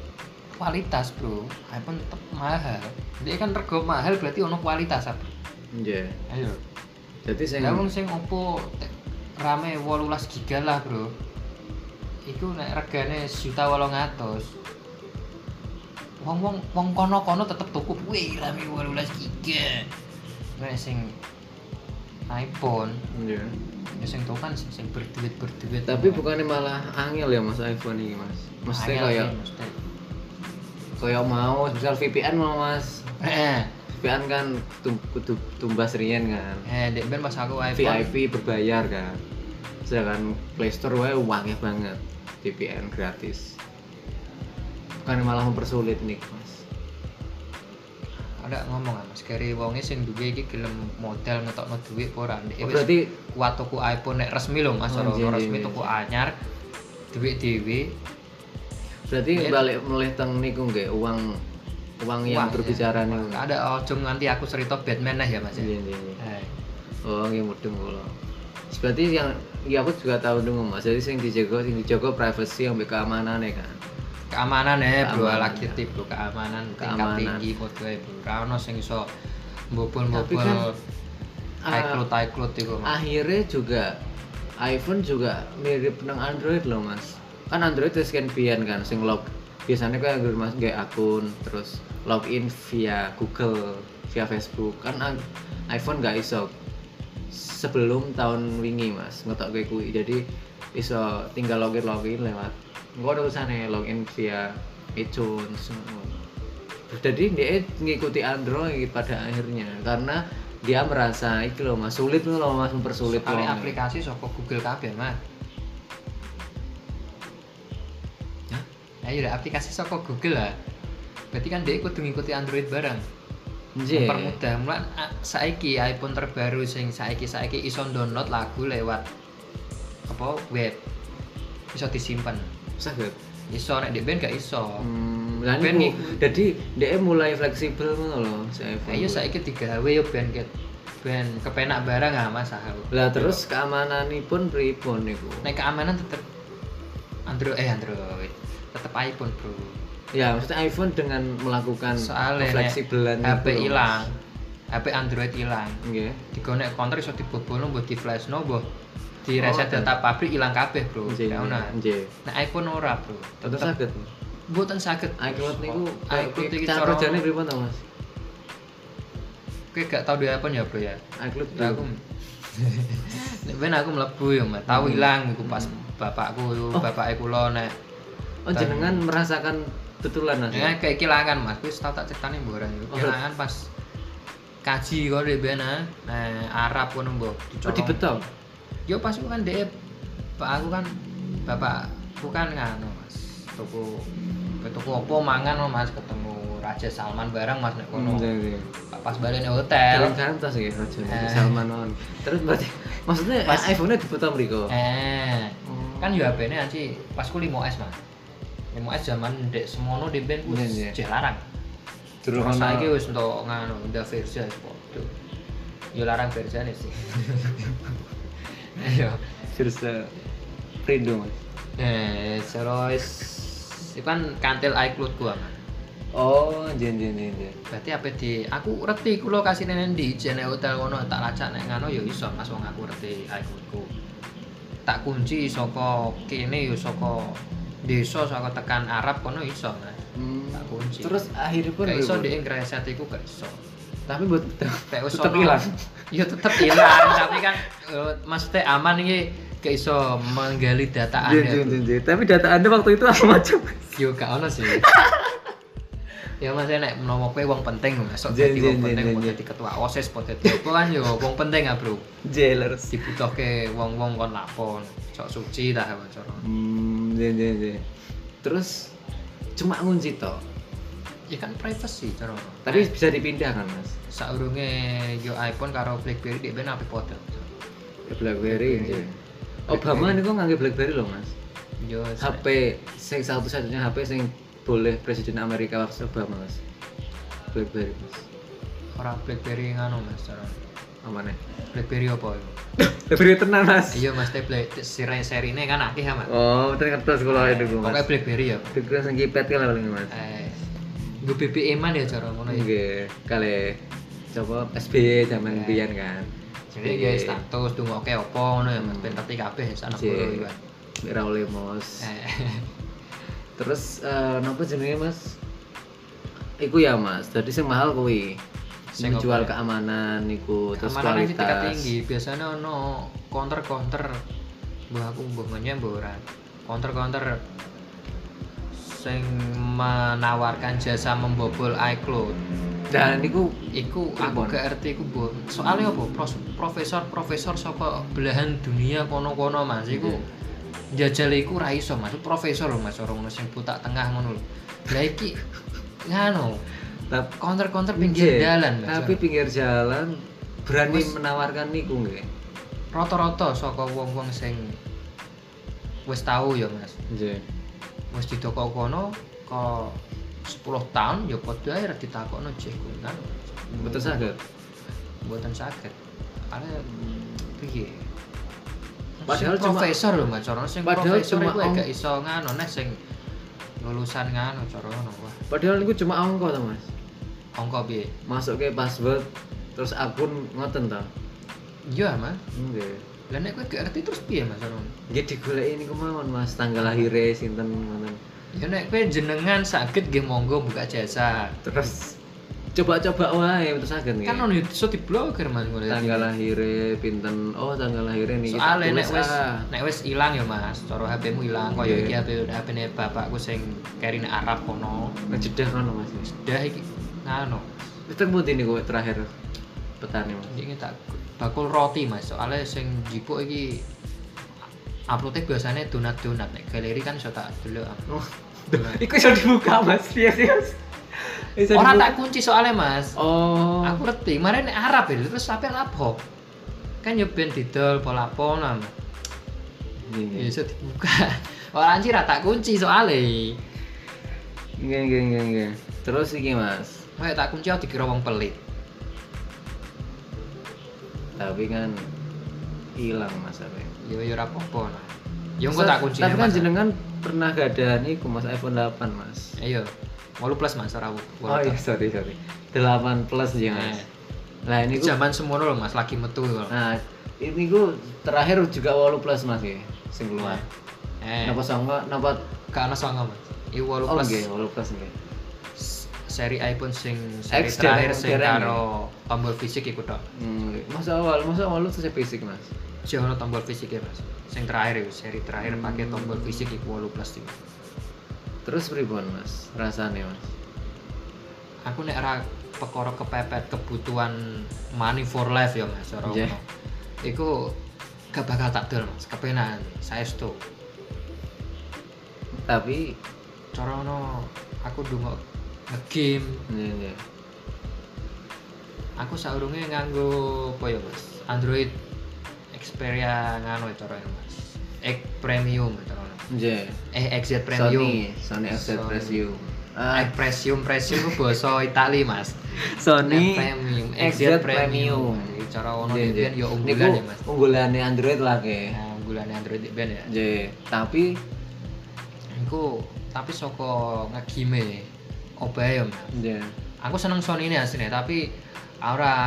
kualitas bro iPhone tetap mahal dia kan rego mahal berarti ono kualitas apa Nggih. ayo Jadi sing lah wong sing opo te- rame 18 giga lah bro iku nek regane 1.800 wong wong wong kono kono tetep tuku wih rame 18 giga nek sing iPhone Nggih. ya sing tuh kan sing, sing berduit berduit Ya, Tapi bukannya malah angel ya Mas iPhone ini Mas. Mesti Angel kayak sih, mesti. kayak mau misal VPN mau Mas. eh VPN kan tum, kudu tumbas riyen kan. eh dek ben pas aku iPhone VIP berbayar kan. Sedangkan Play Store wae wangi banget. VPN gratis. Bukannya malah mempersulit nih Mas. ada ngomong kan mas kari wongnya sing duwe iki gelem model ngetokno duit apa ora Oh, dek Ya, wis berarti kuat tuku iPhone nek resmi lho mas Oh, ora iya, iya, resmi iya. tuku anyar duit dhewe berarti Iya. balik melih teng niku nggih uang uang yang Uang, berbicara iya. niku. Nggak ada ojo nanti aku cerita Batman lah ya mas ya Iya, iya, iya. Eh, Oh, nggih mudeng kula. Berarti yang ya aku juga tahu dong Mas. Jadi sing dijaga sing dijaga privacy yang keamanan ya kan. keamanan ya bro Keamanan, lagi ya. tip bro keamanan Keamanan. tingkat tinggi kodwe bro ra ono sing iso Tapi mbobol-mbobol kan, ah, iCloud iCloud iku gitu, mas Akhirnya juga iPhone juga mirip nang Android loh Mas. Kan Android itu scan VPN kan sing log. Biasanya kan Android Mas nggih akun terus login via Google, via Facebook. Kan ang- iPhone nggak iso sebelum tahun wingi Mas ngetok gue kui. Jadi iso tinggal login login lewat. Gua ada usahane login via iTunes. ngono. Jadi dia ngikuti Android pada akhirnya karena dia merasa iki loh Mas sulit loh Mas mempersulit kali wong. aplikasi saka Google kabeh mah ayo lah iya, aplikasi saka Google lah berarti kan dia kudu ngikuti Android bareng Nje. mempermudah mulan a- saiki iPhone terbaru sing saiki saiki iso download lagu lewat apa web iso disimpan Saged. iso nek di band gak iso Hmm, lah Ben niku. ngikut. Jadi dia mulai fleksibel ngono loh si iPhone. ayo iya, saiki digawe yo band ket band kepenak bareng ah mas aku Lah terus keamananipun pripun niku? nek keamanan tetep Android eh Android tetep iPhone bro Ya, maksudnya iPhone dengan melakukan soalnya fleksibelan gitu HP hilang HP Android hilang Nggih. dikonek counter iso dibobol mbok di flash no mbok di reset Oh, data pabrik hilang kabeh bro Nggih. nggak ono Nggih. nah iPhone ora bro Tentu saged. mboten saged Oh, iCloud niku iCloud iki cara cara kerjane pripun to, Mas? kowe gak tau duwe iPhone ya bro Iya. ya iCloud Ya, aku Nek ben aku mlebu ya Mas. tau Hmm. hilang iku pas bapakku bapak kula nek Oh jenengan merasakan betulan mas? Dengan kayak kehilangan mas, wis tau tak ceritane mbok orang Iya. Oh. Kehilangan pas kaji kok di bena, nah Arab kono mbok Oh di betok? Yo pas aku kan dhek Pak aku kan bapakku kan nganu Mas. Toko ke toko opo mangan loh, Mas ketemu Raja Salman bareng Mas nek kono. Hmm. Pas balik nih hotel. Jalan kantos ya Raja Eh. Salman on. Terus berarti maksudnya eh, Pas- iPhone-nya di betok mriko? Kan Eh, kan yo HP-ne anci pas ku 5S Mas. MOS zaman dek semono di band wis Iya, iya. jek larang. Durung Terus ana- saiki wis entuk ngono ndak Versa wis podo. Yo larang Versane sih. Ayo. Versa Prindo eh, mas. Eh, terus itu kan kantil iCloud gua kan. Oh, jen jen jen jen. Berarti apa di aku reti ku lokasine nendi jene hotel kono tak lacak nek ngono ya iso Mas wong aku reti iCloudku. Tak kunci saka kene ya saka desa saka tekan Arab kono iso Mas. Hmm. Tak kunci. Terus akhirnya pun gak iso berubah. ndek ngreset iku gak iso. Tapi buat Tek wis Tetep ono- ilang. Ya tetep ilang, tapi kan eh, maksudnya aman iki gak iso menggali data jen Anda. jen jen jen. Tapi data anda waktu itu apa macam? Yo gak ono sih. ya mas nek menomo kowe wong penting masuk Jen, dadi jen, wong jen, penting jen, mau jen. dadi ketua OSIS pot dadi apa kan yo wong penting ah bro Jailers. dibutuhke wong-wong kon lapon sok suci dah cara Hmm, jen jen jen. Terus cuma ngunci toh. ya kan privacy cara Tapi Eh. bisa dipindah kan mas? saurunge yo iPhone karo BlackBerry dia ben apik padha Blackberry. jen. Obama ini kok nganggep Blackberry loh mas. yo HP sing satu-satunya HP sing boleh presiden Amerika waktu Obama mas. Blackberry mas. ora BlackBerry ngano mas cara Apa nih? BlackBerry apa yo Blackberry tenan mas. iya mas teh Black seri serine kan akeh ya mas Oh, ternyata kertas kalau itu gue mas. pokoknya BlackBerry ya Terus yang kipet kan paling mas. eh gue BBM an ya cara ngono ya Oke, kali coba SBY Iya. zaman biyen kan. Jadi ya status tuh oke opo ngono ya Mas ben ngerti kabeh sana Iya. kulo iwan. Raul Lemos. Eh, Terus eh napa jenenge Mas? Iku ya Mas, jadi sing mahal kuwi. Sing menjual apa ya? keamanan iku terus Keamanan yang tingkat kualitas. tinggi biasanya ono counter-counter mbah aku mbah ngenyek mbah ora. Counter-counter sing menawarkan jasa membobol iCloud. Dan iku Iku Pripun? aku gak ngerti iku mbok. Soalnya apa? Pros- Profesor-profesor saka belahan dunia kono-kono Mas iku jajal iku ra iso Mas. Profesor lho Mas orang ngono sing buta tengah ngono lho. Lah iki ngano? tap- Counter-counter pinggir Nggih, dalan Mas. Iya. Tapi pinggir jalan berani Mas- menawarkan niku nggih. rata-rata saka wong-wong sing wis tau ya Mas. Nggih. Wis didokok kono ke 10 tahun ya padha ae ra ditakokno jek kuwi kan. Betul saged. Mboten saged. Ale piye? Padahal Sing cuma- profesor lho Mas, cara sing Padahal profesor cuma iku ya ong- gak iso ngano nek sing lulusan ngano cara ngono wah. Padahal niku cuma ongko to Mas. Angka piye? Masuk ke password terus akun ngoten to. Iya Mas. Nggih. Lah nek kowe gak ngerti terus piye Mas cara ngono? Nggih digoleki niku mawon Mas, tanggal lahirnya sinten ngoten. Ya nek kowe jenengan saged nggih monggo buka jasa. Terus coba-coba wae betul saged nggih. kan ono iso di blogger mas ngono ya. tanggal lahirnya pinten oh tanggal lahirnya nih soalnya nek tulis, wis ah. nek wis ilang ya mas cara HP-mu ilang kaya Iya. iki HP HP-ne bapakku sing kerine Arab kono ngejedah kan lo mas dah iki ngono kita putih nih gue terakhir petani mas iki tak bakul roti mas soalnya sing jipuk iki uploadnya biasanya donat-donat nek galeri kan iso tak delok oh itu bisa dibuka mas iya sih mas Bisa ora dibuka. tak kunci soalnya mas oh aku reti kemarin nek Arab ya terus sampe lapo kan yo ben didol pola-pola mas Ya gini iso dibuka. Ora anjir ra tak kunci soalnya. gini gini gini, gini. terus iki mas Kayak tak kunci aku dikira wong pelit. tapi kan hilang mas apa ya? Yo yo ora apa-apa. Nah. Yo engko tak kunci. ya, tapi kan jenengan pernah gak ada nih mas iPhone 8 mas Ayo. 8 plus Mas ora aku. oh iya sorry sorry 8 plus ya mas Eh. nah ini Ini gue zaman semono lho Mas lagi metu lho. Nah, ini gue terakhir juga walu plus mas ya, sing keluar. Eh. Napa sangka, napa Gak ana songo Mas. Iki 8 oh plus nggih, walu plus nggih. s- seri iPhone sing seri X terakhir dereng- sing dereng karo tombol fisik iku tok. Hmm, nggih. masa awal, masa awal lu saya fisik mas. Jono tombol fisik ya Mas. Sing terakhir iku seri terakhir pakai tombol fisik iku 8 plus iku. Terus pribon mas, rasanya mas. aku nek ra perkara kepepet kebutuhan money for life ya Mas cara Iya. ngono. Iku gak bakal tak dol Mas, kepenan. Saestu. Tapi, Cara ngono aku ndonga nge-game, iya iya. aku saurunge nganggo apa ya Mas? Android Xperia ngano itu e cara ya, Mas. X Premium gitu loh. Nje. Eh XZ Sony, Premium. Sony FZ Sony. Eh, Presium. Ah, X Premium Premium ku basa Itali, Mas. Sony X Premium, XZ Premium. Jadi Cara ono Nje, nje. ben yo unggulan Niku ya, Mas. unggulannya Android lah ke. Oh, Unggulan Android ben ya. Nje. Tapi Iku tapi saka ngegime obae ya, Mas. nje. aku seneng Sony ini aslinya tapi ora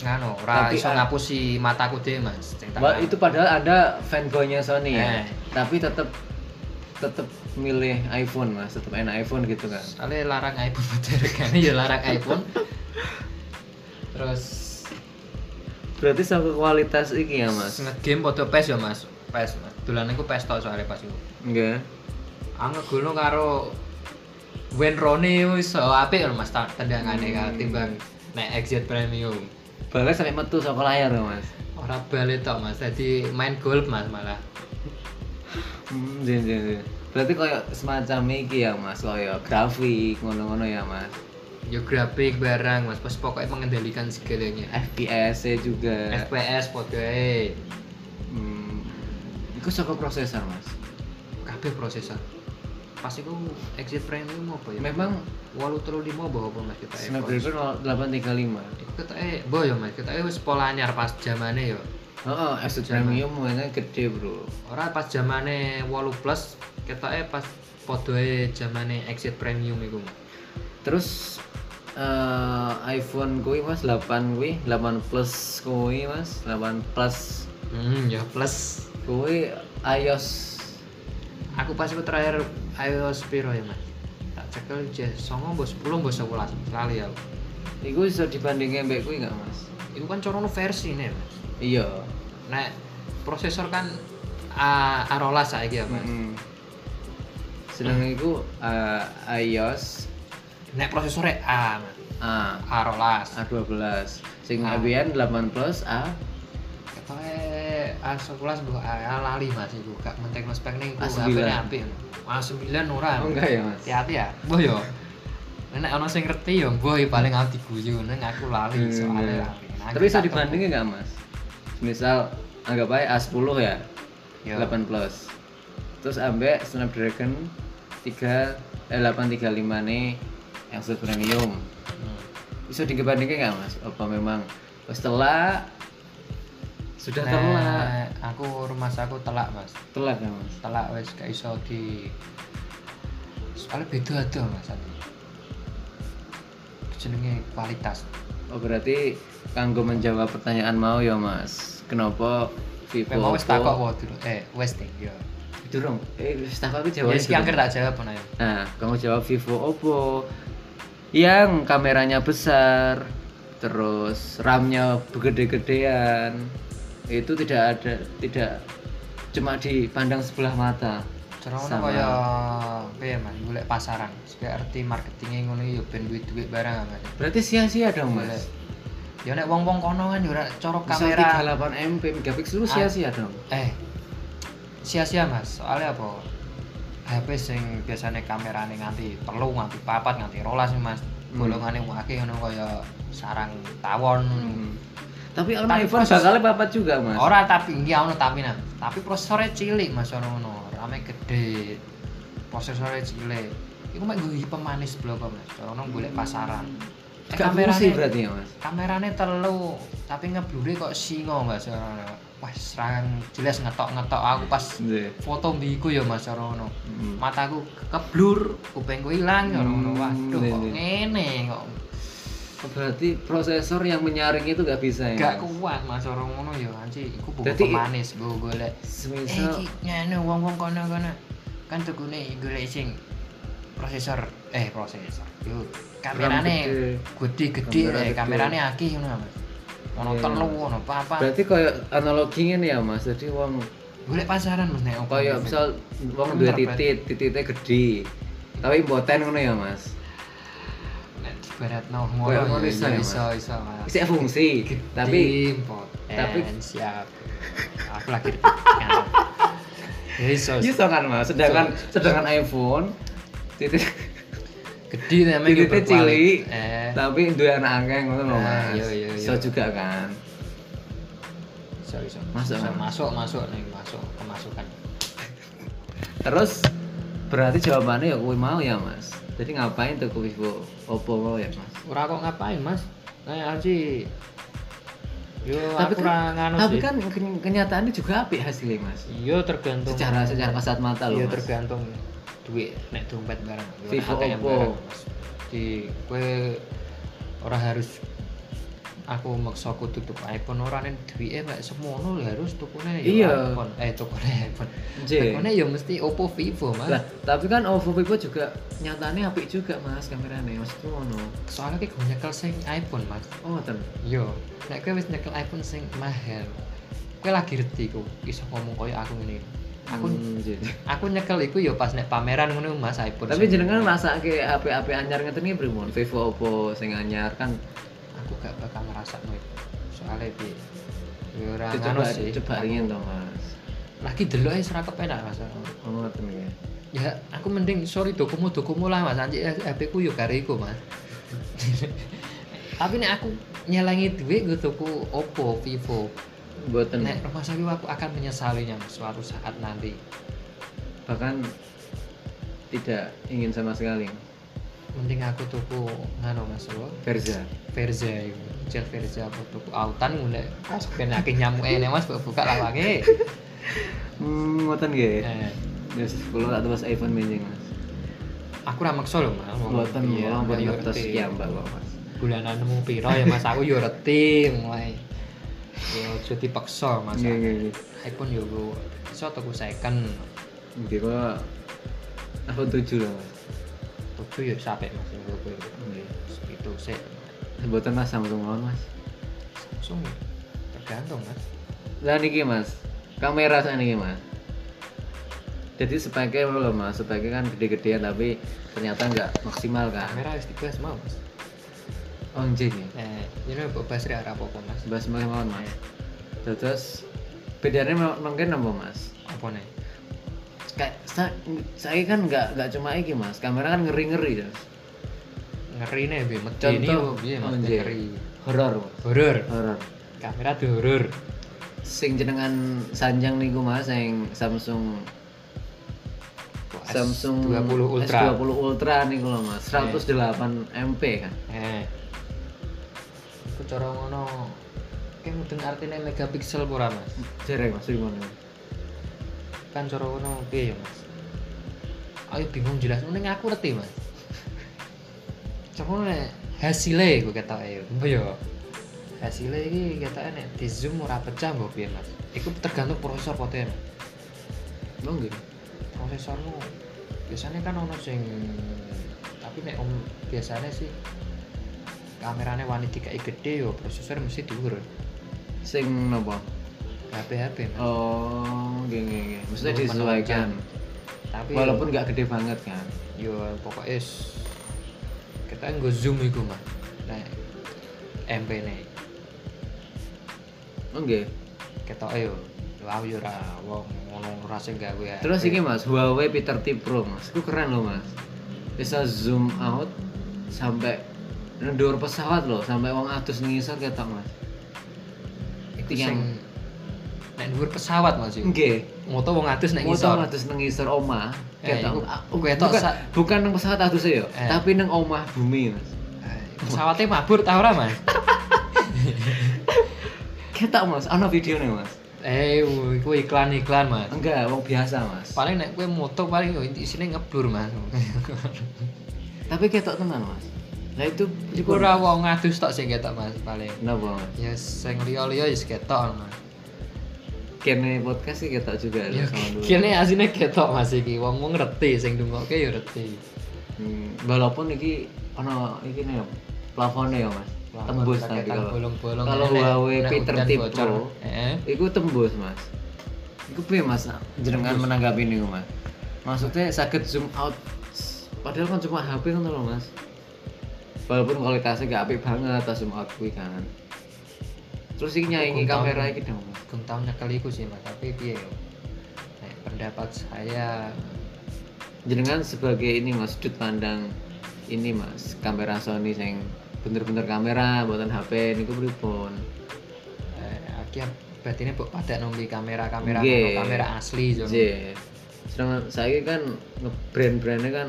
ngano ora Tapi iso a- ngapusi mataku deh mas Sing tak- Wah, itu padahal ada fanboynya Sony ya. Eh. Tapi tetap tetap milih iPhone mas, tetap enak iPhone gitu kan. Soalnya larang iPhone derek kan ya larang iPhone terus Berarti sama kualitas iki ya mas? ngegame foto PES ya mas PES mas dolanan ku PES tau soalnya pas itu Enggak. aku ngegono karo Wayne Rooney iso apik lho mas ta- tendangannya kan timbang nek exit premium Balas sampai metu sama layar ya mas. ora balik tok mas jadi main golf mas malah Hmm, jen, jen, jen. Berarti kayak semacam iki ya mas, kayak grafik ngono-ngono ya mas. yo grafik barang mas pas pokoknya mengendalikan segalanya FPS -nya e juga. FPS podoe Hmm. Iku saka prosesor mas. kabeh prosesor. Pas iku exit premium apa ya? Memang walu telu lima apa apa mas kita Snapdragon 835. Iku kita eh boh ya mas kita wis pola anyar pas zamane ya. Oh, oh S premium mainnya gede bro. Ora pas zamane walu plus kita eh pas podoe zamane exit premium iku. Terus eh, iPhone kui mas 8 kui 8 plus kui mas 8 plus Hmm ya plus. kui iOS Aku pas iku terakhir iOS piro ya mas? Tak cekel je songo mbok 10 mbok 11 lali ya. aku. Iku bisa dibandingin mbek kui nggak mas? Iku kan corono versi nih mas. Iya. Nah prosesor kan ah, Arola saiki ya mas. Mm. Sedang iku eh, iOS Nek prosesornya A, Mas. A A rolas. A12 sing Ah. ABN 8 plus A Ketoke A sebelas bu eh, A A lali mas iku gak mentek no spek ning A iku Ah, sembilan. HP-ne apik. A sembilan ora. Oh, enggak ya, Mas? Hati-hati ya. Mbah yo. Nek ana sing ngerti yo mbah yo paling aku diguyu ning aku lali Hmm, soalnya iya. lali. Nah, aku Tapi bisa tak dibandingin nggak mas? Misal anggap aja A10 ya, Yo. 8 plus. Terus ambek Snapdragon 3 eh, 835 nih yang set premium. temu. Hmm. Bisa dibandingin nggak mas? Apa memang setelah sudah Nek telat Aku rumah aku telak mas. telat ya mas? Telak wis gak iso di soalnya beda ada mas aku. Jenenge kualitas. Oh berarti kanggo menjawab pertanyaan mau ya mas. Kenapa Vivo? Memang wis Oppo- takok wae dulu. Eh, wis deh, yo. Durung. Eh, wis takok aku Ya jawab. iki angker tak jawab ana yo. Nah, kamu jawab Vivo Oppo yang kameranya besar, terus RAM-nya gede-gedean. Itu tidak ada tidak cuma dipandang sebelah mata. Cara ngono Sama. kaya piye Mas, golek pasaran. Sik arti marketinge ngono yo ben duit-duit barang Mas. Berarti sia-sia dong, Golek. Mas. Ya nek wong-wong kono kan yo ora cara Misal kamera. 38 MP megapiksel lu Ah. sia-sia dong. Eh. Sia-sia Mas, soalnya apa? HP sing biasanya kamerane nganti telu, nganti papat, nganti rolas nih, Mas. Hmm. Golongane akeh ngono kaya sarang tawon. Hmm. Tapi on Tapi iPhone proses- bakalnya papat juga, Mas. Ora tapi iki ono tapi nah. Tapi prosesornya cilik Mas ono ngono. Rame gede. Prosesornya cilik. Iku mek nggo pemanis blok kok, Mas. Cara ono golek pasaran. Eh, Gak fungsi berarti ya, Mas. Kamerane telu, tapi ngeblure kok singo Mas cara ono. Wah, serang jelas ngetok-ngetok aku pas Nggih. foto mbiku ya Mas cara ono. Hmm. Mataku keblur, kupengku ilang ya ono. Hmm, Waduh kok iya, iya. ngene kok Berarti prosesor yang menyaring itu gak bisa ya. gak Mas? kuat Mas cara ngono ya anci iku buku Dadi- pemanis go golek Eh, Semisal iki ngene wong-wong kono-kono kan tukune golek sing prosesor eh prosesor. Yo kamerane RAM gede. gede gede Kamera eh, gede. kamerane akeh ngono Mas. Ono Iya. telu ono papat. Berarti kayak analoginya nih ya mas, jadi wong Golek pasaran Mas nek opo. kayak misal wong dua titik, titiknya gede tapi boten ngono ya mas nek dibaratno ngono Kayak ya, ngono iso iya, ya, iso Mas. iso Mas. Isih fungsi, tapi tapi- tapi siap. Aku lagi ditekan. Ya, iso. iso. iso kan mas, sedangkan sedangkan iPhone titik Gede namanya titiknya cilik berkualitas. Eh. tapi dua anak angin ngono loh Ah, mas iya, iya, iso iya. juga kan iso iso Masuk, Iso, kan? masuk masuk nih masuk kemasukan Terus berarti jawabannya ya kowe mau ya, Mas. Jadi ngapain tuh kowe Vivo Oppo mau ya, Mas? ora kok ngapain mas nah sih yo Tapi kan- aku ora nganu Tapi anu sih kan ken- kenyataannya juga apik hasilnya, Mas. yo tergantung Secara secara kasat mata loh, Iya Mas. tergantung duit nek dompet barang. Yo, Vivo ATM Oppo. barang, Mas. Di kowe ora harus aku maksa kudu tuku iPhone ora nek duwike mek semono lho harus tukune yo Iya. iPhone. Eh tukune iPhone. Jeng. Tukune yo mesti Oppo Vivo, Lah, Mas. tapi kan Oppo Vivo juga nyatanya apik juga, Mas, kameranya. Mas itu ngono. Soalnya kowe nyekel sing iPhone, Mas. Oh, ten. Yo, nek kowe wis nyekel iPhone sing mahal. Kowe lagi reti ku iso ngomong koyo aku ngene. Aku Hmm, jeng. aku nyekel iku yo pas nek pameran ngono Mas iPhone. Tapi sing- jenengan rasa ke HP-HP anyar ngeten iki pripun? Vivo Oppo sing anyar kan aku gak bakal ngerasa noit soalnya bi ya ora coba ngono sih coba ringin to, Mas. lagi delok ae ora kepenak mas Oh, ngoten ya. ya aku mending sorry dokumu dokumu lah mas anjir HP ku yo karo iku mas tapi nek aku nyelangi duit gue tuku Oppo Vivo Mboten. nek rumah sakit aku akan menyesalinya Mas, suatu saat nanti Bahkan tidak ingin sama sekali. mending aku tuku ngano mas lo Verza. Verza iku Cel Verza aku tuku autan ngulek ben akeh nyamuk ene mas buka- buka lawange Hmm, ngoten nggih. Eh. Terus kalau tak terus iPhone benjing mas. aku ra maksa lho mas Buatan Iya, ya, buat yo ngetes reti. ya mbak kok mas. bulananmu piro ya mas aku yo reti mulai yo aja dipaksa mas Iya iya iya. iPhone yo gue iso tuku second Jadi kok aku tujuh lah mas. tujuh yo sampai mas yo gue Iya. itu sih Buatan mas Samsung lawan mas. Samsung tergantung mas Lah niki mas, kamera saya niki mas. Jadi sebagai apa lho mas, sebagai kan gede-gedean tapi ternyata nggak maksimal kan. kamera harus dibahas mau mas Oh anjing ya. eh ini buat basri arah apa mas Bahas maksimal mas. Terus bedanya mem- mungkin apa mas? apa nih Kayak sa- saya kan nggak nggak cuma iki mas, kamera kan ngeri-ngeri mas. ngeri nih bi mati ini Contoh, bi mas anjir. ngeri Horor mas. horor Horor. kamera tuh horor sing jenengan sanjang niku mas sing Samsung Samsung 20 Ultra S20 Ultra niku lho mas 108 MP kan Eh. Iku cara ngono. Kayak mudeng artinya megapiksel apa ora, Mas? jereng mas gimana Kan cara ngono piye ya, Mas? Ayo bingung jelas mending aku ngerti, Mas. Coba nek hasilnya gue kata ayo, apa ya? Hasilnya ini kata nek di zoom ora pecah mbok piye, Mas? Iku tergantung prosesor potensi. Oh, lo enggak prosesormu biasanya kan ono sing tapi nek om biasanya sih kameranya wani dikai gede yo prosesor mesti dhuwur sing nopo HP HP Mas. oh nggih nggih nggih maksudnya Belum disesuaikan tapi walaupun nggak gede banget kan yo pokoknya s- kita nggo zoom iku mah nah MP ne oh nggih ketok yo wow yo ora wong ngono ora sing gawe HP. terus iki mas Huawei P30 Pro mas itu keren loh mas bisa zoom out sampai ndur pesawat loh sampai wong atus ngisor ketok mas Iku tiang. sing nek dhuwur pesawat Mas iku. nggih Moto wong atus nek Motor ngisor. atus nang ngisor omah. Eh, Ketok. iku- Ah, iku ketok bukan- sa- bukan nang pesawat atus ya, Eh. tapi nang omah bumi, Mas. Pesawatnya mabur ta ora, Mas? Ketok, Mas. Ana videone, Mas. Eh, iku iklan-iklan, Mas. Enggak, wong biasa, Mas. Paling nek kowe moto paling yo isine ngeblur, Mas. Tapi ketok tenan, Mas. Lah itu Iku ora wong ngadus tok sing ketok, Mas, paling. Napa, Mas? Ya sing liya-liya wis ketok, Mas. Kene podcast iki ketok juga lho Ya sama dulu. kene asine ketok, Mas iki. Wong wong ngerti sing dungokke yo ngerti. Hmm, walaupun iki ana iki ne plafone ya, Mas. Tembus tapi Raketan kalau bolong-bolong. kalau Nek- Huawei nek hujan P30 bocor. Eh? Pro. Heeh. Iku tembus, Mas. Iku piye, Mas? Jenengan menanggapi niku, Mas. Maksudnya sakit zoom out padahal kan cuma HP kan lho, Mas. Walaupun kualitasnya gak apik banget tas zoom out kuwi kan. Terus iki nyaingi Hukum kamera tahun. iki dong, Mas. Gem tau nyekel iku sih, Mas, tapi piye yo. Nek pendapat saya Jenengan sebagai ini Mas sudut pandang ini Mas, kamera Sony sing bener-bener kamera buatan HP niku pripun? eh, aku berarti ini buat pada nombi kamera kamera Nggih. kamera asli Jon. Iya. Sedangkan saya kan nge-brand-brandnya kan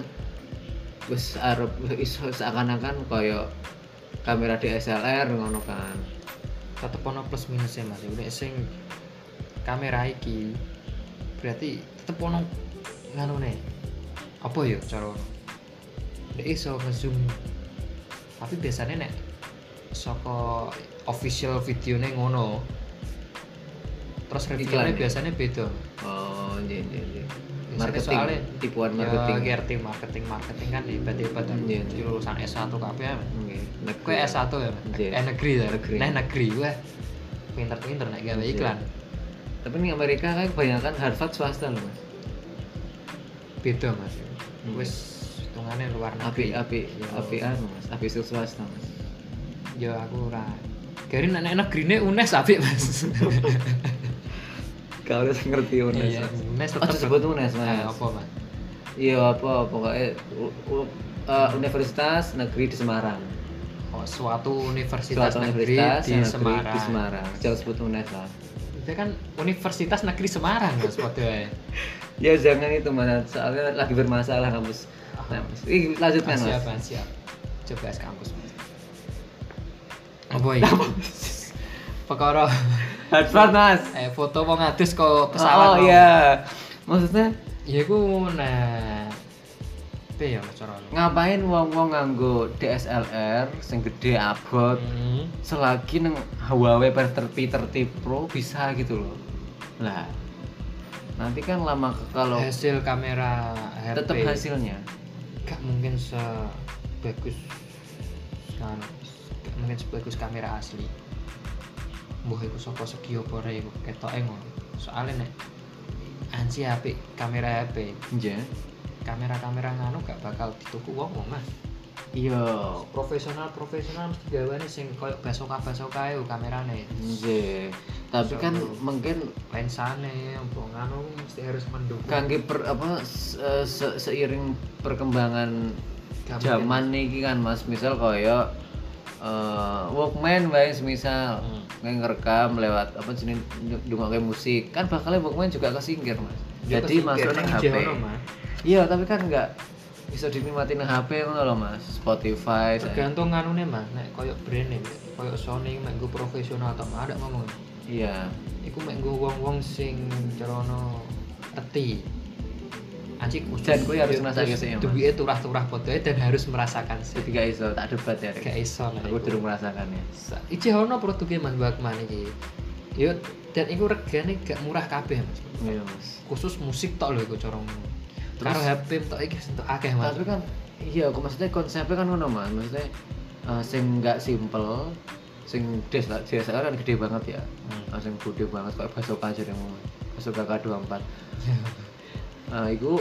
wis arep wis seakan-akan koyo kamera DSLR ngono kan. tetep ono plus minusnya mas udah sing kamera iki berarti tetep ono nganu nih apa ya cara udah iso ngezoom tapi biasanya nek soko official video ngono terus reviewnya Iklan ya? biasanya beda Oh, iya iya iya. Biasanya Marketing, Ya, soalnya tipuan marketing. ya marketing. ngerti marketing marketing kan tiba-tiba dan Iya, iya. lulusan S1 kabeh ya Nggih. Negeri. Kue S1 ya? Iya. Eh negeri ya? Negeri. Nah negeri gue Pinter-pinter nek gawe Iya. iklan Tapi nih Amerika kan kebanyakan Harvard swasta loh mas. Beda mas Iya. Wes hitungannya luar Api negeri api Yo, api anu mas. Api swasta mas. Yo aku ora Garin nek negeri ini UNES apik mas Kau harus ngerti UNES. Iya, Mas. UNES Oh, disebut UNES mas. Eh, Apa mas? Iya apa pokoknya u- u- eh, Universitas Negeri di Semarang. Oh, suatu universitas, Suatu negeri, universitas yang di, negeri Semarang. Di Semarang. Jangan sebut UNES lah. Itu kan Universitas Negeri Semarang mas padha ae. Ya jangan itu mas. Soalnya lagi bermasalah kampus. kampus. Ih, lanjutkan mas. Siap, Mas, siap. Coba es kampus. Mas. Apa iki? Perkara Harvard mas. eh foto mau ngadus kok Oh pesawat. mau. iya. Maksudnya Ya iku nah. Apa ya Mas carane? ngapain wong-wong nganggo DSLR sing gede abot Hmm. selagi neng Huawei P30 Pro bisa gitu loh. Lah. Nanti kan lama ke- kalau Hasil kamera HP tetap hasilnya gak mungkin sebagus kan gak mungkin sebagus kamera asli. Mbah iku saka segi opore iku ketoke ngono. Soale nek ansi HP kamera HP Iya. kamera-kamera nganu gak bakal dituku wong wong mas Iya. profesional profesional mesti gawane sing koyo basoka basoka yo kamerane Iya. Tapi kan Satu. mungkin lensane apa nganu mesti harus mendukung kangge per apa se- se- seiring perkembangan Gak zaman niki kan Mas misal koyo eh, Walkman wae misal Hmm. ngerekam lewat apa jenis dungokke musik kan bakalnya Walkman juga kesingkir Mas. Yo Jadi kesingkir, masuk nang nang HP. jero, Mas. Iya, tapi kan enggak bisa dinikmati nang HP ngono lho Mas. Spotify. saya- tergantung nganune mas nek koyo brand e, koyo Sony mek nggo profesional atau ada ngomong Iya. iku mek nggo wong-wong sing cerono reti Anci khusus Dan kowe harus Yo, ngrasakake terus sih, Mas. duwike turah-turah podoe dan harus merasakan sih Jadi gak iso tak debat ya. Rek. gak iso nek Aku iku. durung merasakannya. Sa- Iki ono produknya Mas Bagman iki. Yo dan iku regane gak murah kabeh Mas. Iya, Mas. Khusus musik tok lho iku corong. Terus- Karo HP tok iki sentuh akeh Mas. tapi kan iya kok maksudnya konsepnya kan ngono mas maksudnya eh, sing nggak simple sing des DSLR kan gede banget ya Eh, Hmm. sing gede banget kayak basoka aja yang basoka K24 nah itu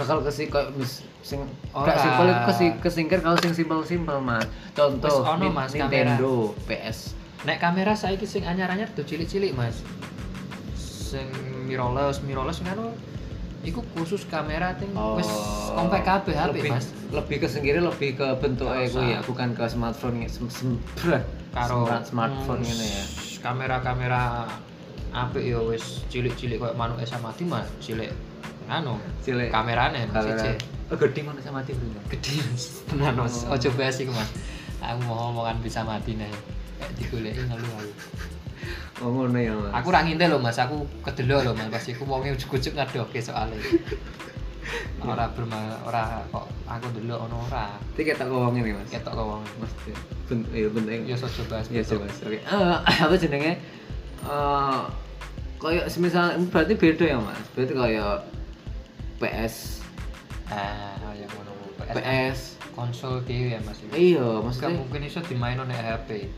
bakal kesi kayak mis sing Ora. gak simple itu kesi kesingkir kalau sing simple simple mas Wis contoh ono, Nin- Mas, Nintendo PS Nek kamera saiki sing anyar-anyar tuh cilik-cilik Mas. Sing mirrorless, mirrorless ngono iku khusus kamera ting wis kompak kabeh HP Oh. lebih, Mas. lebih kesingkirnya lebih ke bentuknya itu Nggak ya bukan ke smartphone sem, sem, Karo smart- smartphone Hmm, ini ya s- Kamera-kamera apik yo wis cilik-cilik koyo manuk sama Mas, cilik nganu. Cilik. kamerane Mas. kamera cilik. oh, gede mana sama mati bro gede tenan mas Oh. ojo bahas iku mas aku mau omongan bisa mati nih kayak digoleki ngelu aku oh ngono ya mas aku ora nginte lho mas aku kedelok lho mas pas iku wonge ujug-ujug ngadohke soalnya Nah, ora berma ora kok aku ndelok ono ora Tapi kita ngomongin nih ya, mas ketok kok wong mas ya. ben ya bentar yo ojo bahas ya Iya, betul. coba oke Eh, apa jenenge Eh, kayak semisal berarti beda ya mas berarti kayak PS ah oh ya ngono PS, PS konsol dhewe ya mas iya Gak maksudnya mungkin iso dimaino nek HP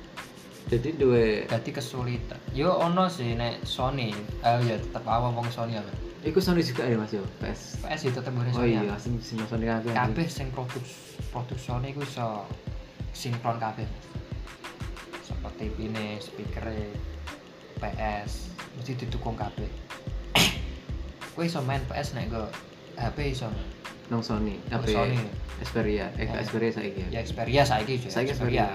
jadi dua dadi kesulitan yo ono sih nek Sony ah ya tetep awam wong Sony ya Mas. Iku Sony juga ya mas yo PS PS ya tetep ngene oh Sony ya. iya sing sing Sony kabeh anjing. kabeh sing produks produksione iku iso sinkron kabeh seperti ini speakere PS mesti didukung kabeh kowe iso main PS nek go HP iso nang Sony Nang HP Sony. Xperia eh Eh. Xperia saiki ya ya Xperia ya saiki juga Saiki Xperia. ya.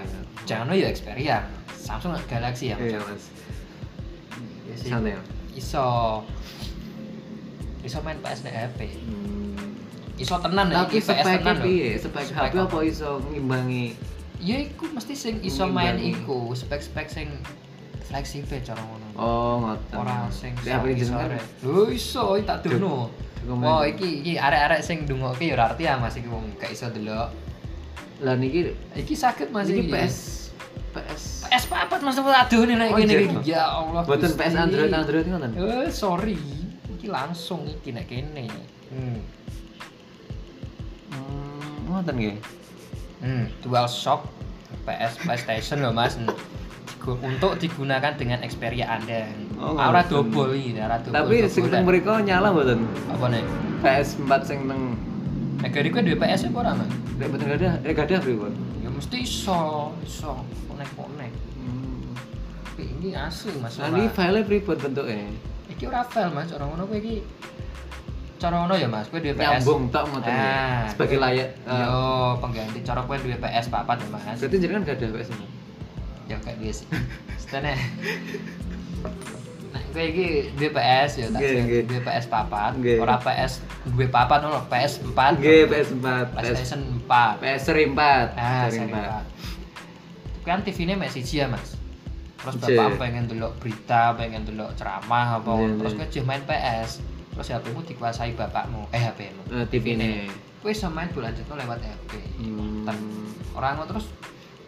jangan ya Xperia Samsung Galaxy ya iya mas Ya sih. santai ya? Iso. Iso main PS nek HP. Hmm. Iso tenan ya, Tapi iki PS speknya tenan lho. piye? Spek Spek HP apa? apa iso ngimbangi? Ya iku mesti sing iso main Ngimbangi. iku, spek-spek sing fleksibel cara ngono. Oh, ngoten. Ora sing Lek HP saiki jenengan sore. Lho iso iki tak dono. Duh, komen. Wah, iki iki arek-arek sing ndongokke ya ora arti ya Mas iki wong gak iso delok. Lah niki Iki sakit Mas niki iki. PS PS PS papat Mas tak adone nek Oh, ngene iya. iki. Ya Allah. Boten Gusti. PS Android Android ngoten. Hmm, Eh, sorry. Iki langsung iki nek kene. Hmm. Hmm, ngoten nggih. Hmm, DualShock PS PlayStation loh Mas. Hmm. Digu- Untuk digunakan dengan Xperia Anda. Oh, Ora ngerti. dobol iki, ora dobol. Tapi sing teng dobolan. mriko nyala mboten. apa nih? PS4 sing teng Nek gari kowe duwe PS apa ora, Mas? lek mboten gada, lek gada pripun? Ya mesti iso, iso konek-konek. Hmm. Tapi ini asli Mas. Lah ora- niki file pripun bentuke? Iki ora fail Mas, ora ngono kowe iki cara ngono ya Mas, kowe duwe PS. Nyambung tok ngoten. nggih. Ah, Ya, Sebagai layak eh, Yo, pengganti cara kowe duwe PS papat ya Mas. Berarti jenengan gak ada PS4. ya kayak gue sih eh. setene nah gue iki duwe PS ya tak Nggih, nggih. duwe PS papat Nggih. ora PS duwe papat ngono lho, PS 4 Nggih, PS4. PS PlayStation 4 PS seri 4. ah Seri seri 4. 4 kan TV nya masih siji ya mas terus Siji. bapak pengen delok berita pengen delok ceramah apa Nggih, terus nggih. kowe jeh main PS terus HP-mu dikuasai bapakmu eh HP-mu Eh, TV ini. kowe iso main bola jatuh lewat HP Hmm. Ten. orang ngono terus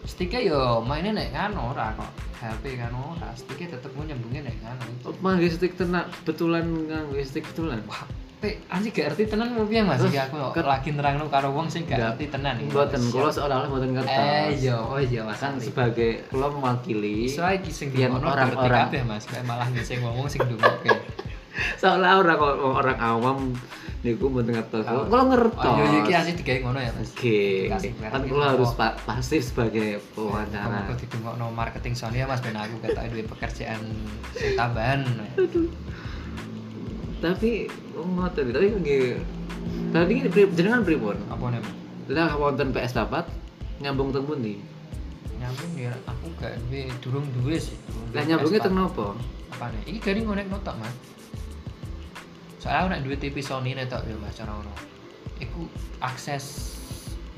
stiknya yo mainnya nek ngano ora kok HP kan ora stiknya tetep gue nyambungnya nek ngano Oh, mangga stick tenak betulan nganggo stick betulan. tapi anjir gak ngerti tenan mau piye mas Terus, Iki aku ket- lagi nerang gara wong sing gak Nggak. ngerti tenan iki. Mboten Siap. kula seolah-olah mboten ngertos. eh yo oh iya mas kan Ari. sebagai kula mewakili iso ae iki sing Biar ngono ngerti orang-orang- kabeh mas kayak malah ngising ngomong sing dungokke seolah orang orang awam niku mboten ngertos. Kula- Kula ngertos. oh iya iki asih digawe ngono ya mas Oke, Dikasih merek kan gitu. kula harus pa- pasif sebagai pewawancara. Kok didungokno marketing Sony ya mas ben aku ketok duwe pekerjaan sing tambahan Tapi oh, ngoten, tapi nggih tadi ini pri- jenengan pripun? apa nih Mas? Lah wonten PS dapat nyambung teng pundi? nyambung ya aku gak duwe durung duwe sih durung Lah duwe nyambungnya PS4. teng napa? apa nih ini dari ngonek notok mas soalnya aku nak duwe TV Sony nih tok ya mas cara ngono iku akses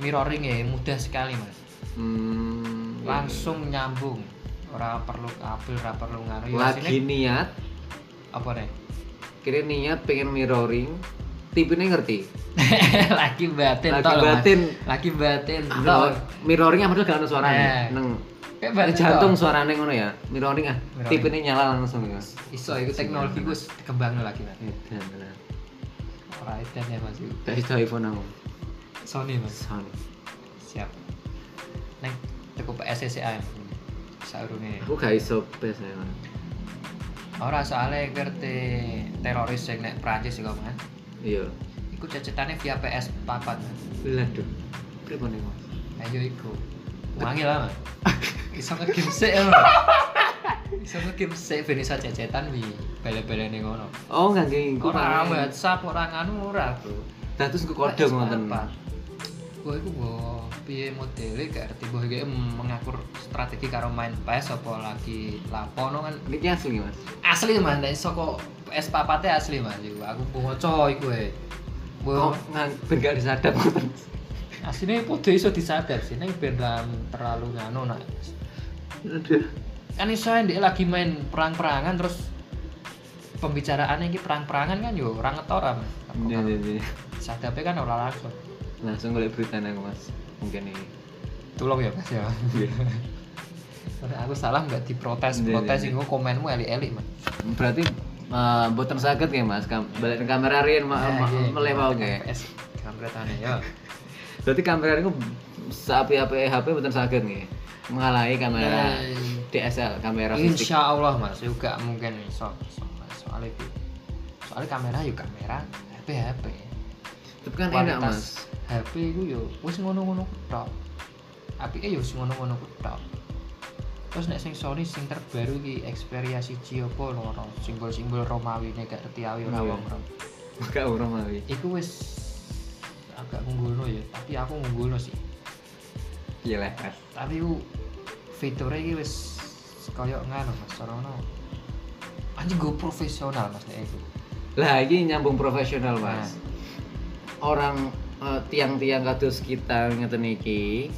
mirroring ya mudah sekali Iya, mas Hmm, langsung nyambung ora perlu kabel ora perlu ngaruh ya lagi sini niat apa nih kira niat pengen mirroring tipenya ngerti lagi batin Lagi tok lho, Mas. batin. Ah, lagi batin tok Mirror, mirroringnya padahal gak ada suaranya Eh. neng kayak ada batin jantung tok. suaranya ngono ya mirroring ah Mirroring. tipenya nyala langsung ya iso iku teknologi gue kembang lagi mas edan lah ora edan ya mas iku. dari iPhone aku Sony mas Sony siap neng cukup PSCCA saurunge aku gak iso PS ya Mas. ora soalnya ngerti teroris yang nek Prancis juga kan iya iku cecetannya via PS papat Mas. lah duh pripun iku Mas? ayo iku wangi lah mas iso nge-game sik ya iso nge-game sik ben iso cecetan wi bele-bele ning ngono oh gak gini aku ora WhatsApp ora nganu ora bro nah terus aku kode ngoten gue iku mbok piye modele gak ngerti mbok iki mengatur strategi karo main PS apa lagi lapono kan ini asli mas asli mas nek saka PS papate asli mas iku aku maca iku e oh Mbok ngang ben gak disadap ngoten asline podo iso disadar sih ning ben ra terlalu ngano nak aduh kan iso ae ndek lagi main perang-perangan terus pembicaraannya iki perang-perangan kan yo ora ngetora mas iya iya iya sadape kan ora langsung langsung golek berita nang mas mungkin ini tolong ya mas ya Karena aku salah nggak diprotes Iya, protes iya, sih gua komenmu elik-elik mas berarti uh, boten saged nggih Mas kam balik nang kamera riyen Iya, ma- ma- melewau nggih. PS iya. kampretane ya Berarti kamera niku sapi-api HP boten saged nggih mengalahi kamera Nah, DSL kamera fisik. Insya Allah mas, juga mungkin so, so, soalnya itu soalnya kamera yuk kamera HP HP Tapi kan enak Mas. HP itu yo wis ngono-ngono kutok tapi eh yo wis ngono-ngono kutok terus nek sing Sony sing terbaru ki Xperia siji apa loro simbol-simbol Romawi nek gak ngerti awi ora Iya. wong ora Maka ora mawi. iku wis agak ngungguno ya tapi aku ngungguno sih Iya lah Mas. tapi u fiturnya iki wis koyo ngono mas ora ono anjing gue profesional mas nek itu Lah iki nyambung profesional, Mas. Orang eh, tiang-tiang kados kita ngeten iki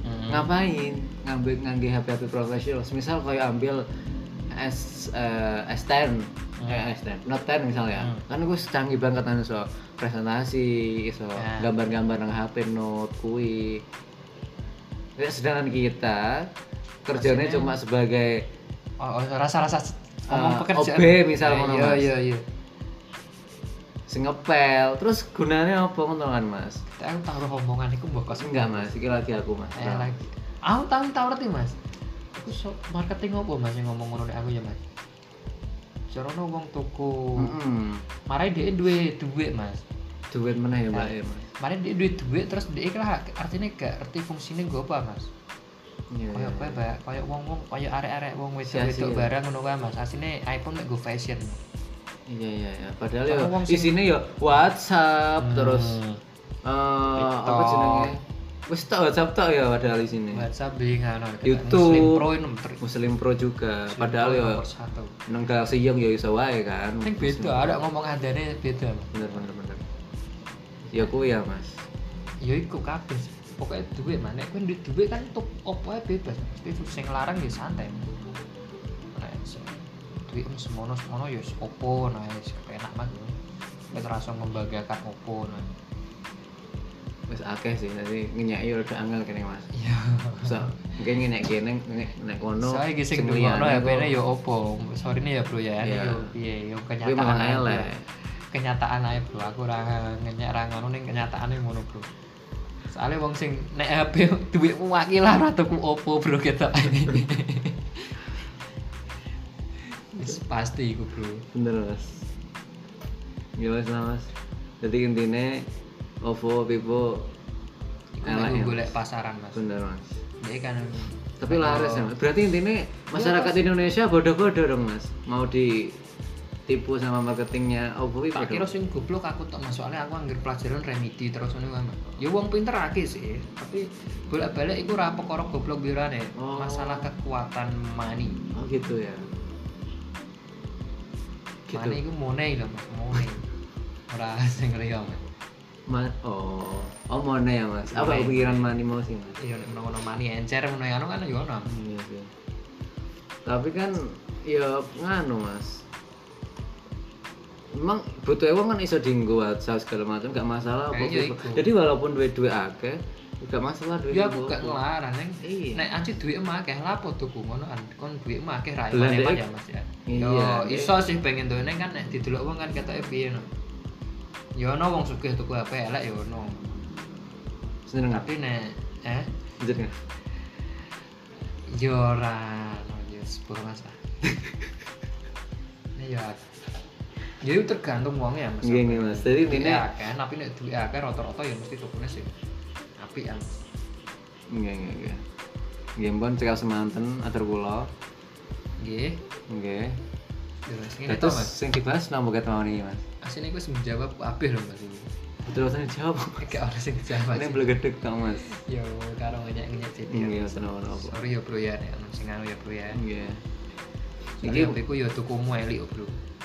Hmm. ngapain ngambil ngangge HP HP profesional misal kayak ambil S eh, S10 eh, S10 Note 10 misalnya Hmm. kan gue canggih banget anu so presentasi so Ya. gambar-gambar nang HP Note kui ya, sedangkan kita kerjanya Maksudnya- cuma sebagai oh, oh, rasa-rasa s- ngomong Ah, pekerjaan OB misal ngono, iya Mas. iya iya sing ngepel terus gunanya apa ngono kan mas aku taruh omongan itu mbok kos enggak mas iki lagi aku mas eh lagi aku tahu tahu ngerti mas aku so marketing apa mas yang ngomong ngono nek aku ya mas Jarono wong tuku, Mm-mm. mari dia duwe duit mas, duit meneh ya mbak ya Ya. mas mari dia duwe duit terus dia kira artinya gak ngerti fungsinya gue apa mas. Iya, iya, koyo kowe iya. ba koyo wong-wong koyo arek-arek wong Sia-sia. wedok-wedok barang ngono kae Mas. Asline iPhone mek go fashion. Iya iya iya. Padahal ya Soalnya wong sing- isinya ya WhatsApp terus eh apa Hmm. TikTok. jenenge? Wis tok WhatsApp tok ya padahal isine. WhatsApp beli ngono. YouTube. Muslim Pro ini nomor Muslim Pro juga. Muslim padahal Pro ya nomor satu. nang Galaxy Young ya iso wae kan. Sing beda, ada ngomong adane beda. Mas. Bener bener bener. Ya ku ya Mas. Ya iku kabeh. Pokoknya duit Mas. Nek kowe duit duit kan untuk opo ae bebas. Mesti sing larang ya santai. Nek sing duit em semono semono ya wis opo nah wis enak Mas. Nek terasa membanggakan opo nah. Wis akeh sih nanti ngenyaki udah angel kene Mas. Iya. So, mungkin ngenyek kene ngenyek nek kono. Soalnya gue sing liyane ngrungokno kok- HP-ne yo ya opo. Sorry nih ya bro ya, gitu. ini Iya. yo piye yo Kuwi malah kenyataan ae. bro. elek. Kenyataan ae bro, aku ora ngenyek ra ngono ning kenyataane ngono bro. Soalnya wong sing nek HP duitmu wakil lah ora tuku opo bro ketok. Wis pasti iku bro. Bener mas Ya mas lah mas Jadi intinya Ovo, Vivo Iku elek nek ya, golek Mas. pasaran Mas. Bener mas Dia kan Oh. Tapi laris ya mas Berarti intinya Iya, Masyarakat Indonesia bodoh-bodoh dong mas Mau ditipu sama marketingnya Ovo, Vivo Tak kira dong sing goblok aku tok Mas, soalnya aku anggar pelajaran remedi terus ngono kan. Ya wong pinter akeh sih, tapi bolak-balik iku ra perkara goblok birane. Oh. Masalah kekuatan money. Oh gitu ya Gitu Money iku money lho, Mas, money. Ora sing riyo, Mas. Ma- Oh Oh Mone ya mas Apa Mone. pikiran Mani mau sih mas Ya nek menawa money encer ngono ya kan ya ono. Iya sih. Tapi kan ya nganu mas. Emang butuh uang kan iso dinggo WhatsApp segala macam gak masalah apa apa. Iya, iku. Jadi walaupun duit-duit akeh gak masalah duit. Ya aku gak ngelarang neng. Iya. Nek anci duit mah akeh lapo tuku ngono kan. Kon duit mah akeh ra Lah, iman Dek. ya Mas ya. Iya, Yo Dek. iso sih pengen duwe neng kan nek didelok wong kan ketoke piye no. Ya ono wong sugih tuku HP elek ya ono. Seneng nggak? Tapi nek eh Seneng nggak? yo ora ono yo sepuro Mas. lah. Nek yo Ya itu tergantung uangnya ya mas. Iya iya, mas. Jadi Duit ini akeh, tapi nek duit akeh rata-rata ya mesti tukune sih. Apik kan. Iya iya iya. Game pun cekal semanten atur kula. Nggih. Nggih. Terus ngene to Terus Mas. sing dibahas nambah ket mau nih mas. Asine iku wis menjawab kabeh lho Mas. ini. Betul betul jawab. Gak ono sing dijawab. Ini belum gedek tau mas. Yo karo ngenyek-ngenyek jadi. ya. Iya seneng apa. Sorry yo Bro ya nek ono sing anu ya Bro ya. Iya. Iki HP ku yo tukumu elik yo Bro.